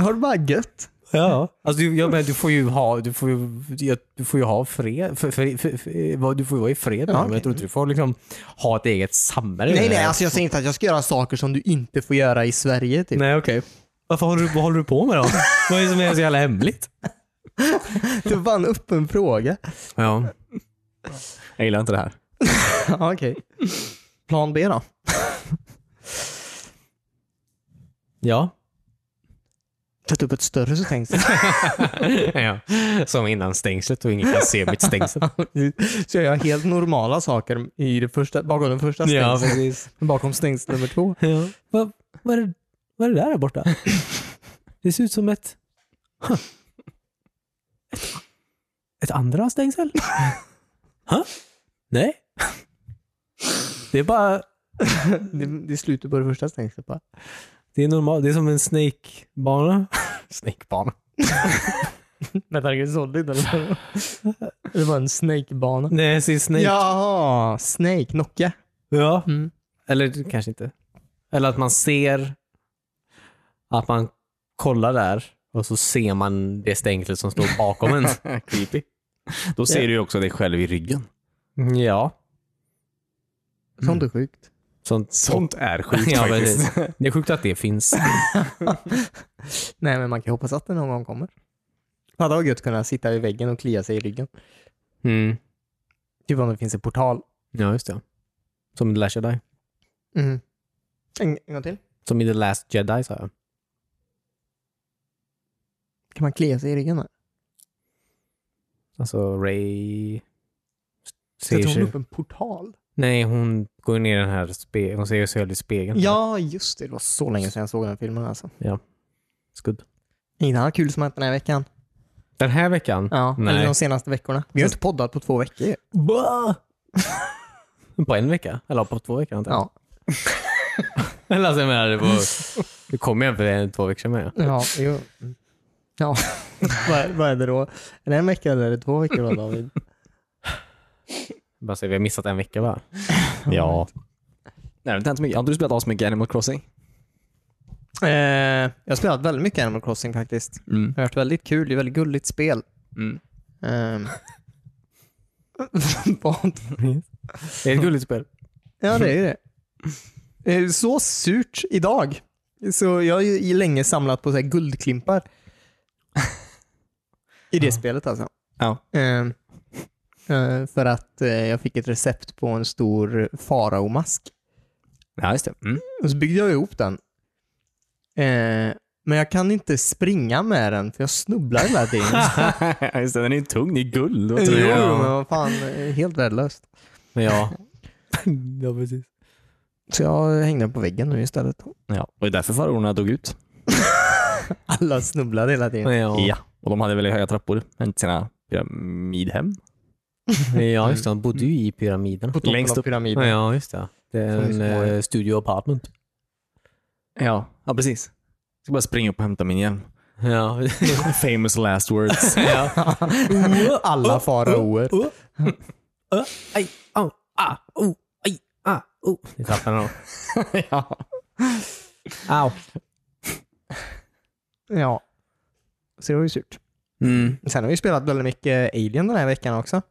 Har du bara gött?
Ja, alltså du, ja, men du får ju ha, du får ju, ja, du får ju ha fred, för, för, för, för, vad- du får ju vara i fred med
Ja,
dem. Jag tror inte du får liksom ha ett eget samhälle.
Nej, nej, alltså jag säger inte att jag ska göra saker som du inte får göra i Sverige. Typ.
Nej, okej. Varför håller du, vad håller du på med då? vad är det som är så jävla hemligt?
Det var en öppen fråga.
Ja.
Jag gillar inte det här.
Ja, Okej. Plan B då?
Ja.
Sätt upp ett större så tänks
ja. Som innan stängslet och ingen kan se mitt stängsel.
Så jag gör helt normala saker i det första, bakom den första
ja,
stängslet.
precis.
bakom stängsel nummer två.
Ja. Vad, vad, är det, vad är det där där borta? Det ser ut som ett... Huh. Ett, ett andra stängsel? Huh? Nej. Det är bara...
Det, det är slutet på det första stängslet bara.
Det är normalt. Det är som en snakebana. Snakebana.
Metal Gear Solid eller? det var en Snake-bana.
Nej, jag ser snake.
Jaha, Snake, Nocka.
ja.
Mm.
Eller kanske inte. Eller att man ser att man kollar där och så ser man det stängslet som står bakom en.
Creepy. Då ser du ju också dig själv i ryggen.
Ja,
Sånt
Mm.
är sjukt.
sånt.
Sånt är sjukt
Ja,
faktiskt.
precis. Det är sjukt att det finns.
Nej, men man kan ju hoppas att det någon gång kommer. Hade varit gött att kunna sitta vid väggen och klia sig i ryggen.
Mm.
Typ om det finns en portal.
Ja, just det. Som i The Last Jedi.
Mm. En, en gång till.
Som i The Last Jedi sa jag.
Kan man klia sig i ryggen? Då?
Alltså Ray... Ser
Sätter hon
sig.
upp en portal?
Nej, hon går ner i den här spegeln. Hon ser sig själv i spegeln.
Ja, just det. Det var så länge sedan jag såg den filmen alltså.
Skudd.
Inget annat kul som hänt den här veckan.
Den här veckan?
Ja, eller
Nej.
de senaste veckorna. Vi har inte poddat på två veckor ju.
På en vecka? Eller på två veckor antar jag.
Ja.
Eller alltså jag menar, det, var, det kom ju en för en, två veckor sedan med.
Ja, jo. Ja, vad, vad är det då? Är det en vecka eller är det två veckor då David?
Bara säger, vi har missat en vecka va?
Ja. Nej, det har inte hänt så mycket. Har inte du spelat asmycket mycket Animal Crossing?
Eh, jag har spelat väldigt mycket Animal Crossing faktiskt. Det har varit väldigt kul. Det är ett väldigt gulligt spel.
Mm.
Ehm. Vad?
Det är ett gulligt spel.
ja, det är ju det. det. är Så surt idag. Så jag har ju i länge samlat på så här guldklimpar. I det spelet alltså.
Ja.
Ehm, eh, för att eh, jag fick ett recept på en stor faraomask.
Ja, just det. Mm.
Och så byggde jag ihop den. Eh, men jag kan inte springa med den för jag snubblar hela tiden.
just det, den är ju tung. Det är guld. Vad tror
jo,
du?
jag.
men vad fan, eh, helt värdelöst.
Men ja. ja, precis.
Så jag hängde på väggen nu istället.
Ja, och det är därför farorna dog ut.
Alla snubblade hela tiden.
Men ja.
Ja. Och de hade väldigt höga trappor. Men till sina pyramidhem.
ja, just det. Han bodde ju i pyramiden.
På toppen
Längst
av
upp.
pyramiden.
Ja, Ja, just det. Det är
Som är
en
små.
eh, studio apartment.
Ja, ja precis. Jag ska bara springa upp och hämta min hjälm.
Ja.
Famous last words.
ja.
Alla faraoer.
Uh, uh, aj, au, ah, oh, aj, ah, oh. Ni tappade den.
ja.
Au.
Ja. Så det var ju surt.
Mm.
Sen har vi spelat väldigt mycket Alien den här veckan också.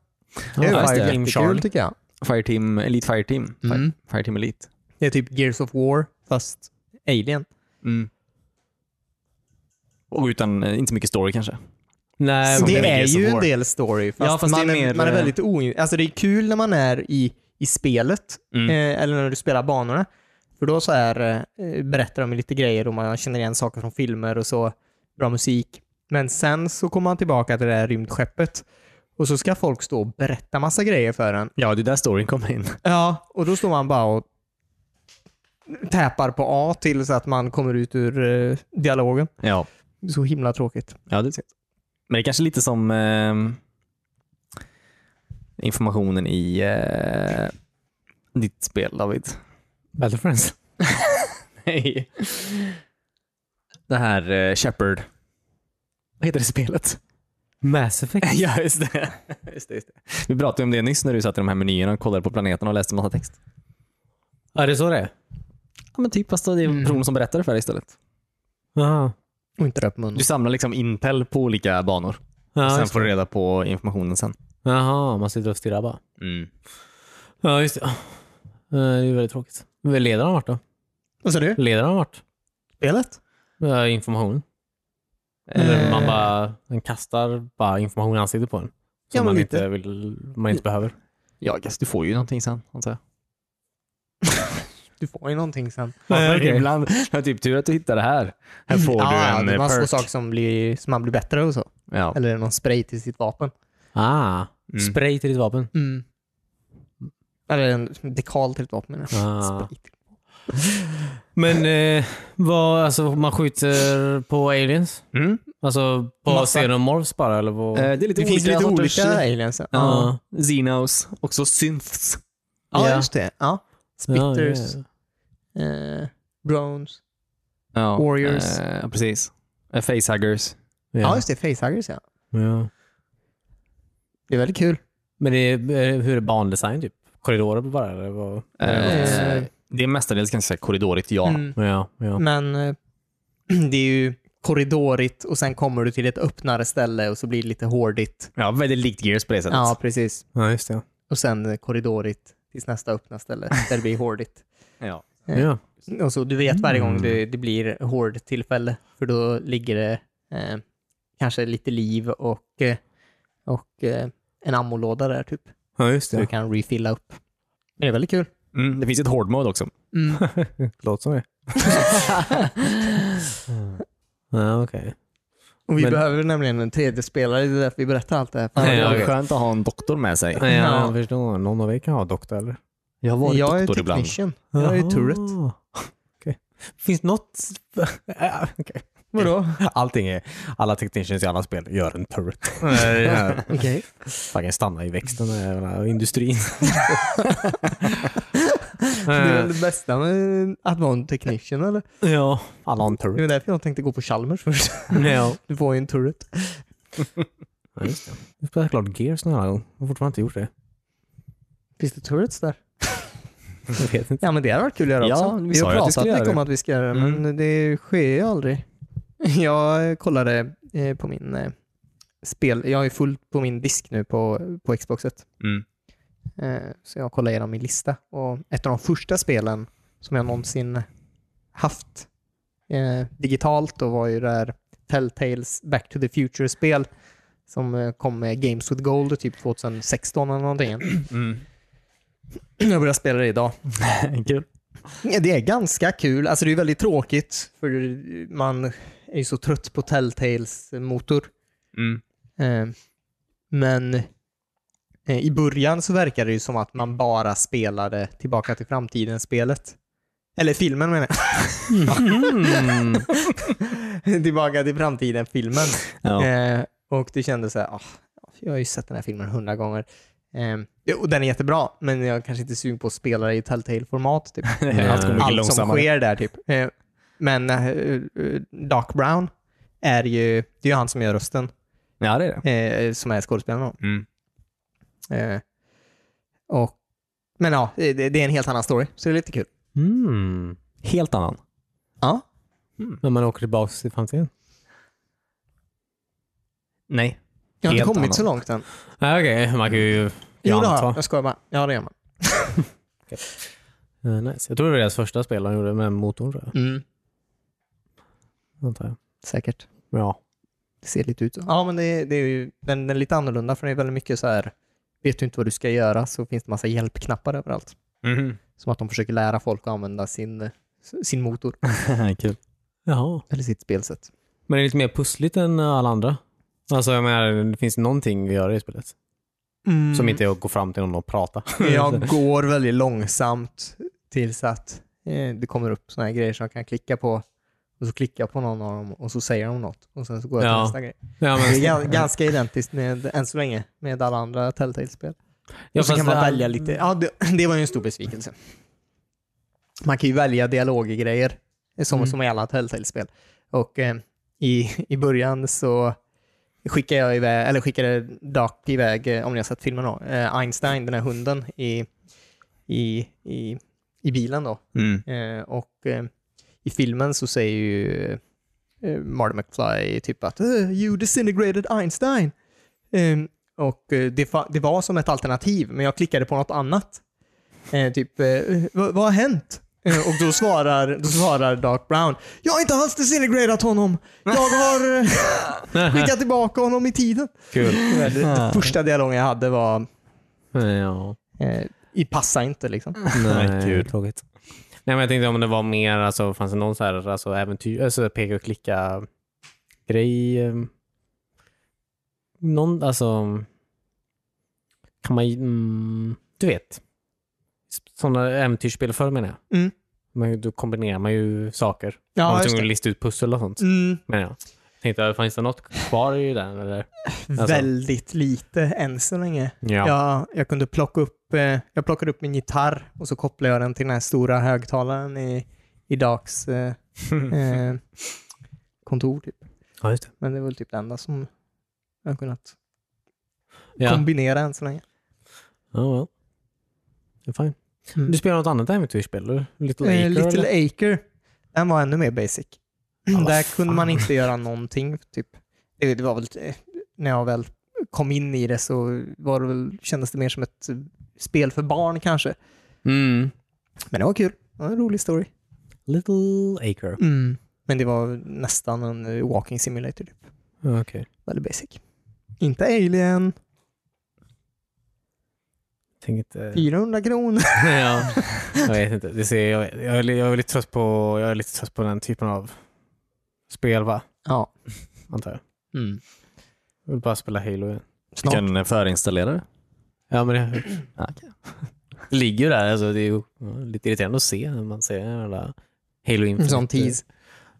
Det
Ja,
var
just
ju
det.
jättekul tycker jag.
Fireteam, Elite Fireteam. Fire-
Mm.
Fireteam Elite.
Det är typ Gears of War fast Alien.
Mm. Och utan, eh, inte så mycket story kanske.
Nej,
Som
det
är
är
Äh, Gears of
ju en
War.
del story. Fast,
Ja, fast
man,
det är
är,
mer- eh,
man är väldigt o... Alltså det är kul när man är i, i spelet,
Mm.
eh, eller när du spelar banorna. För då så här, eh, berättar de lite grejer och man känner igen saker från filmer och så. Bra musik. Men sen så kommer man tillbaka till det här rymdskeppet. Och så ska folk stå och berätta massa grejer för en.
Ja, det är där storyn kommer in.
Ja, och då står man bara och täpar på A till så att man kommer ut ur eh, dialogen.
Ja,
Så himla tråkigt.
ja det är sant. Men det är kanske lite som ehm, informationen i eh, ditt spel, David.
Battle Friends.
Nej. Det här eh, Shepard. Vad heter det spelet?
Mass Effect.
ja, just det. just det, just det. Vi pratade ju om det nyss när du satt i de här menyerna och kollade på planeterna och läste massa text.
Ja, det är så det är?
Ja, men typ, fast det är
Mm.
personer som berättar det för dig istället.
Jaha.
Och inte rör på munnen.
Mm. Du samlar liksom intel på olika banor.
Ja,
och sen
just
får
det.
du reda på informationen sen. Mm.
Jaha, man sitter och stirrar bara. Ja, just det. Eh, Det är ju väldigt tråkigt. Vad leder han vart då?
Vad sa du?
Leder han vart?
Spelet?
Eh, Informationen? Eller
Eh.
man bara den kastar bara information i ansiktet på en. Som
Ja, men
man,
lite.
inte vill, man inte behöver.
Ja, guess, du får ju någonting sen, antar jag.
Du får ju någonting sen.
Nej, okej.
Ibland, det är typ tur att du hittar det här. Här får
ja,
du en eh,
man får
perk.
saker som, blir, som man blir bättre och så.
Ja.
Eller någon spray till sitt vapen.
Ah,
Mm.
spray till ditt vapen.
Mm. Eller en dekal till ett vapen. menar jag.
Ah.
Spray till-
Men eh, vad, alltså man skjuter på aliens?
Mm.
Alltså på
Massa.
xenomorphs bara eller på...
Eh, det är lite
Det finns
olika
lite
sorters-
olika aliens. Ja,
Ja.
Ja. Xenos. Också synths.
Ja.
just det. Ja.
Ja,
Spitters,
ja.
eh, Browns.
Ja,
Warriors.
eh, precis. Eh, Facehuggers.
Ja.
Ja, just det. Facehuggers ja.
Ja.
Det är väldigt kul.
Men det är, eh, hur är bandesign typ? Korridorer bara eller? Vad?
Eh, det är mestadels kan jag säga korridorigt, ja.
Mm.
Ja, ja.
Men eh, det är ju korridorigt och sen kommer du till ett öppnare ställe och så blir det lite hårdigt.
Ja, väldigt likt Gears på det sättet.
Ja, precis.
ja, just det.
Och sen eh, korridorigt tills nästa öppna ställe där det blir hårdigt.
Ja.
Eh.
Ja. Ja.
Och så du vet varje gång
Mm.
det, det blir hård tillfälle för då ligger det eh, kanske lite liv och, eh, och eh, en ammolåda där typ.
just
Så du kan refilla upp. Men det är väldigt kul.
Mm, det finns ett hård mode också.
Mm.
Låter som det. Ja, okej.
Och vi
Men-
behöver nämligen en tredje spelare, det är därför vi berättar allt det här.
Ja,
det
jag
är
vet.
skönt att ha en doktor med sig. Mm,
Ja,
Ja.
jag förstår. Någon av er kan ha doktor eller?
Jag har varit
jag är
doktor ibland.
technician. Jag är turret.
Jaha. Okej. Finns något... Ja, okej.
Vadå?
Allting är... Alla technicians i alla spel gör en turret. Ja.
Okej.
Fucking stanna i växten och industrin.
Det är väl det bästa med att vara en technician eller?
ja. Alla har en
Det
turret.
var därför jag tänkte gå på Chalmers först.
Ja.
Du får ju en turret.
Ja, just det. Vi spelar klart Gears någon annan gång. Jag har fortfarande inte gjort det.
Finns det turrets där?
Jag vet inte.
Ja men det hade varit kul att göra
Ja,
också.
vi
Vi
sa
har
ju att vi
pratat
skulle göra
mycket om
det.
att vi ska göra det,
Mm.
men det sker ju aldrig. Jag kollade eh, på min eh, spel, jag är fullt på min disk nu på, på Xboxet.
Mm.
Eh, så jag kollade igenom min lista och ett av de första spelen som jag någonsin haft eh, digitalt då var ju det här Telltales Back to the Future-spel som eh, kom med Games with Gold typ 2016 eller någonting.
mm.
Jag började spela det idag.
Kul.
Ja, Det är ganska kul. Alltså det är väldigt tråkigt för man är ju så trött på Telltales motor.
Mm.
Eh, Men eh, i början så verkade det ju som att man bara spelade Tillbaka till framtiden-spelet. Eller filmen menar
Mm.
jag. Tillbaka till framtiden-filmen.
Ja.
Eh, Och det kändes så här, ah, jag har ju sett den här filmen hundra gånger. Eh, jo, Och den är jättebra, men jag är kanske inte är sugen på att spela det i Telltale-format. Typ
Allt går mycket
allt som
långsammare.
sker där typ. Eh, Men eh, eh, Doc Brown är ju, det är ju han som gör rösten,
Ja, det är det.
eh, som är skådespelaren.
Mm.
då. Eh, Och, men ja, det, det är en helt annan story, så det är lite kul.
Mm.
Helt annan.
Ja,
När man åker tillbaka till framtiden?
Nej.
jag har inte
Helt
kommit
annan.
så långt än.
Ah, Okej, man kan ju...
Jo, det har
anta.
jag. Jag skojar bara. Ja, det gör man.
Eh, nice. Jag tror det var deras första spel de gjorde med motorn, tror jag.
Mm,
Antar jag.
säkert.
Ja.
Det ser lite ut så. Ja, men det, det är ju, den, den är lite annorlunda, för det är väldigt mycket så här, vet du inte vad du ska göra så finns det massa hjälpknappar överallt.
Mhm.
Som att de försöker lära folk att använda sin, sin motor,
Kul.
Jaha.
eller sitt spelsätt.
Men det är lite mer pussligt än eh, alla andra. Alltså jag menar, det finns någonting vi gör i spelet. Som inte är att gå fram till någon och prata.
Mm. Jag går väldigt långsamt tills att eh, det kommer upp såna här grejer som jag kan klicka på. Och så klickar jag på någon av dem och så säger de något. Och sen så går jag till
Ja.
nästa grej.
ja,
Det är
men,
ga- ganska identiskt med, än så länge med alla andra Telltale-spel.
Ja,
och så
fast
kan man
det här-
välja lite. Ja, det, det var ju en stor besvikelse. Man kan ju välja dialoggrejer eh, som,
Mm.
som i alla Telltale-spel. Och eh, i, i början så skickade jag iväg, eller skickade Doc iväg, eh, om ni har sett filmen då, eh, Einstein, den här hunden, i, i, i, i bilen då.
Mm.
Eh, och eh, i filmen så säger ju eh, Marty McFly typ att "Eh, “You disintegrated Einstein”. Eh, och eh, det, fa- det var som ett alternativ, men jag klickade på något annat. Eh, typ eh, “Vad vad har hänt?” Eh, och då svarar, då svarar Dark Brown “Jag har inte alls disintegrerat honom. Jag har eh, skickat tillbaka honom i tiden”.
Kul.
Den första dialogen jag hade var
Ja.
eh, “I passa inte” liksom.
Nej, kul.
tråkigt. Nej, men jag tänkte om det var mer, alltså, fanns det någon så här, alltså, äventyr, alltså, peka och klicka grej? eh, Någon, alltså, kan man, ju- mm, du vet, sådana äventyrsspel förr menar jag.
Mm.
Men då kombinerar man ju saker.
Ja,
man var
just
tvungen
det.
att lista ut pussel och sånt.
Mm.
Men ja. Tänkte, fanns det något kvar i den? Eller? Alltså.
Väldigt lite än så länge.
Ja.
Jag, jag kunde plocka upp, eh, jag plockade upp min gitarr och så kopplade jag den till den här stora högtalaren i, i Dags eh, eh, kontor. Typ.
ja, just det.
Men det var väl typ det enda som jag har kunnat
Ja.
kombinera än så länge.
Oh, well. You're fine.
Mm.
Du spelar något annat äventyrsspel? eller? Little Acre?
Eh,
eller?
Little Acre, den var ännu mer basic.
vad
Där
fan.
kunde man inte göra någonting. Typ. Det, det var väl, eh, när jag väl kom in i det så var det väl, kändes det mer som ett eh, spel för barn kanske.
Mm.
Men det var kul. Det var en rolig story.
Little Acre.
Mm. Men det var nästan en eh, walking simulator. Typ.
Okej. Okay.
Väldigt basic. Inte Alien.
Eh.
Tänk inte...
400 kronor.
ja. Jag vet inte. Det ser, jag, jag, är, li- jag, är lite trött på, jag är lite trött på den typen av spel, va?
Ja.
Antar jag.
Mm.
Jag vill bara spela Halo igen.
Du
Snart.
kan förinstallera det.
eh, Ja, men det,
Ja, okej.
det ligger ju där. Alltså, det är ju ja, lite irriterande att se när man ser den jävla Halo Infinite.
En sån tease.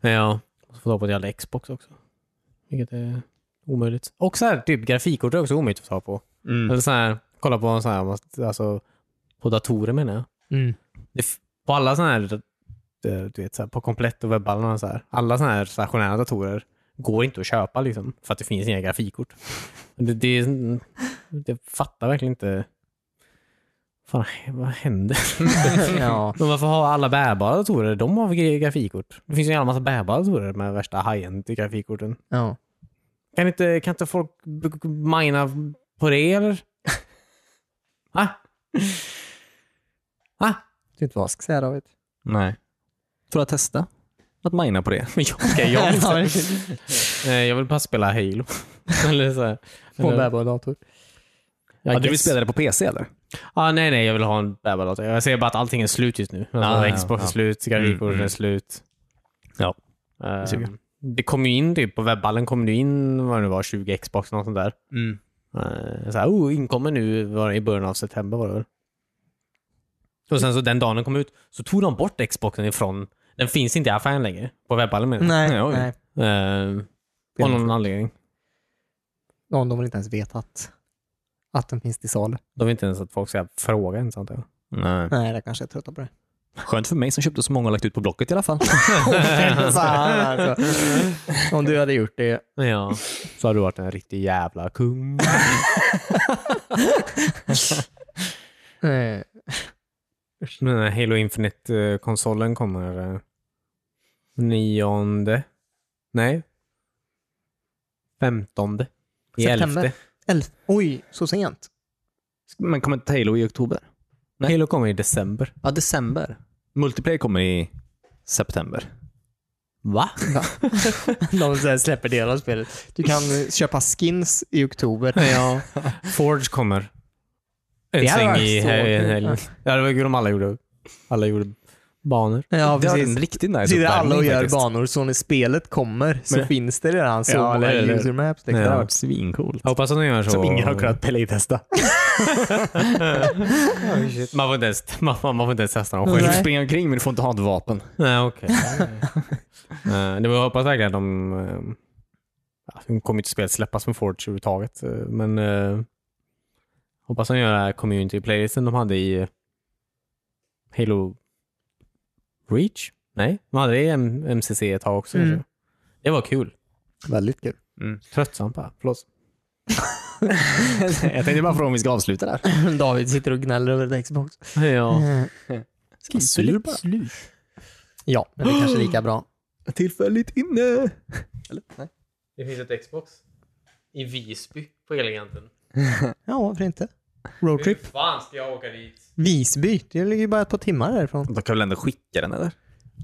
Ja. Och så får ta på en jävla Xbox också. Vilket är omöjligt. Och så här, typ grafikkort är också omöjligt att ta på.
Mm.
Mm.
Eller så här, kolla på en sån här, alltså på datorer menar jag.
Mm.
Det, f- på alla såna här, eh, du vet, så här, på komplett och webballarna och så här. Alla såna här stationära datorer går inte att köpa liksom, för att det finns inga grafikkort. Det, det, är- det fattar verkligen inte. Fan, vad händer?
ja.
Men varför har alla bärbara datorer? De har gra- grafikkort. Det finns ju en jävla massa bärbara datorer med värsta high-end i grafikkorten.
ja.
Kan inte, kan inte folk b- b- mina på det eller? ah? Ah?
Jag vet inte vad jag ska säga David.
Nej. Får jag testa att mina på det?
Men jag, ska jag, Eh, jag vill bara spela Halo. eller så här.
På en
Eller-
bärbar dator.
Ja,
du vill
guess.
spela det på PC eller?
Ah, nej, nej, jag vill ha en bärbar dator. Jag ser bara att allting är slut just nu. Alltså,
Ah, ja,
Xbox är
ja.
slut, grafikkorten
Mm, mm.
är slut.
Ja.
Ehm,
suger.
det kom ju in typ, på webballen kom det in vad det nu var, 20 Xbox något sånt där.
Mm.
Eh, Så här, oh, inkommer nu var det i början av september var det väl. Och sen så den dagen den kom ut så tog de bort Xboxen ifrån, den finns inte i affären längre. På webballen menar jag.
Nej.
Ja, oj.
nej.
Eh, Av någon anledning.
De, de vill inte ens veta att, att den finns till salu.
De vill inte ens att folk ska fråga ens antar jag.
Nej.
Nej, det kanske jag är trötta på det.
Skönt för mig som köpte så många och lagt ut på Blocket i alla fall.
Fan, alltså. Om du hade gjort det.
Men Ja, så har du varit en riktig jävla kung.
Eh,
Men när Halo Infinite-konsolen kommer eh, nionde? Nej. Femtonde. I
September.
elfte.
elf, oj, så sent.
Men kommer inte Halo i oktober? Nej.
Halo kommer i december.
Ja, december. Multiplayer kommer i september.
Va?
De så här släpper delar av spelet. Du kan eh, köpa skins i oktober.
Ja. Forge kommer. En
Det hade
sväng
varit
i
så
he-
kul.
en helg. Ja, det var kul om alla gjorde, alla gjorde banor.
Ja,
det är
precis.
en riktigt nice
Sitter alla och
uppvärmning
gör
faktiskt.
banor, så när spelet kommer så
Men-
finns det redan så
Ja,
många
eller- eller-
user maps.
Det
Liksom.
hade
Ja.
varit svincoolt.
Jag hoppas att de gör så.
playtesta.
man, får inte ens, man, får- man får inte ens testa dem
Du
själv.
får springa omkring men du får inte ha ett vapen.
Nej, okej. Eh, det var- Jag hoppas verkligen att de... eh, ja, Nu kommer inte spelet släppas med Forge överhuvudtaget, eh, men eh, hoppas de gör det här community playlisten de hade i eh, Halo Reach. Nej, man hade det i M- MCC ett tag också.
Mm.
kanske. Det var kul.
Väldigt kul.
Tröttsamt bara. Förlåt.
jag tänkte bara fråga om vi ska avsluta där.
David sitter och gnäller över ett Xbox.
Ja.
Eh,
Sur bara.
Ja, men det är kanske lika bra.
Tillfälligt inne.
Det finns ett Xbox. I Visby på Eleganten.
Ja, varför inte? Roadtrip.
fan ska jag åka dit?
Visby, det ligger ju bara ett par timmar därifrån.
De kan väl ändå skicka den eller?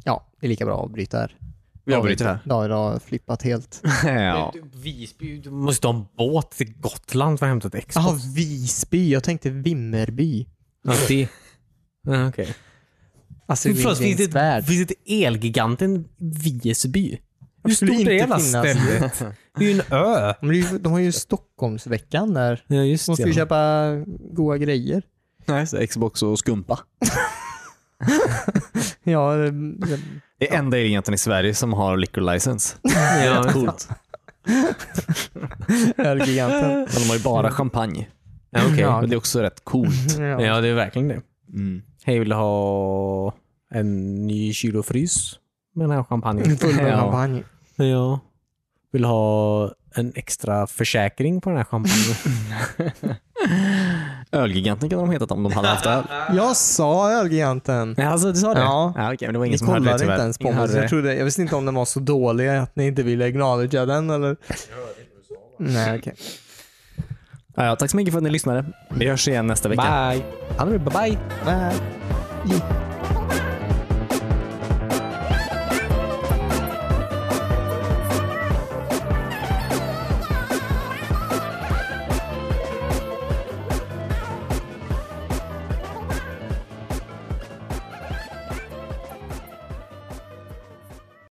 Ja, det är lika bra att avbryta här.
Vi avbryter här.
David har flippat helt.
ja.
Du, Visby, du måste ha en båt till Gotland för att hämta ett Xbox.
Jaha, Visby. Jag tänkte Vimmerby.
Ja, det... Ja, Okej.
Alltså,
Fast finns det,
Vilhelmsberg.
ett, finns det ett Elgiganten Visby? Hur
Varför skulle
stort är
det
det
inte
jävla
finnas?
stället? Det är ju en ö.
Men det är ju- De har ju Stockholmsveckan där.
Ja, just
De måste ju
det.
köpa goda grejer.
Nej, så Xbox och skumpa.
Ja, ehm,
Det är enda eleganten i Sverige som har liquor license.
Ja,
Coolt.
Ölgiganten.
Men de har ju bara champagne.
ja, okej.
Mm. Ja.
Men det är också rätt coolt.
Ja.
ja, det är verkligen det.
Mm.
Hej vill ha en ny kylofrys med den här champagnen.
Full med
Ja.
champagne.
Ja. Vill ha en extra försäkring på den här champagnen.
Ölgiganten kan de hetat om de hade haft öl.
Jag sa Ölgiganten.
Nej, alltså du sa det?
Ja.
ja okej, men det var ingen
Ni
som hörde
kollade
det
inte
tyvärr.
ens på
Ingen
mig.
hörde
så Jag,
det.
trodde, jag visste inte om den var så dålig att ni inte ville acknowledgea den eller? Nej, okej.
Ja, ja, tack så mycket för att ni lyssnade. Vi hörs igen nästa vecka.
Bye! Bye!
Nej. Jo.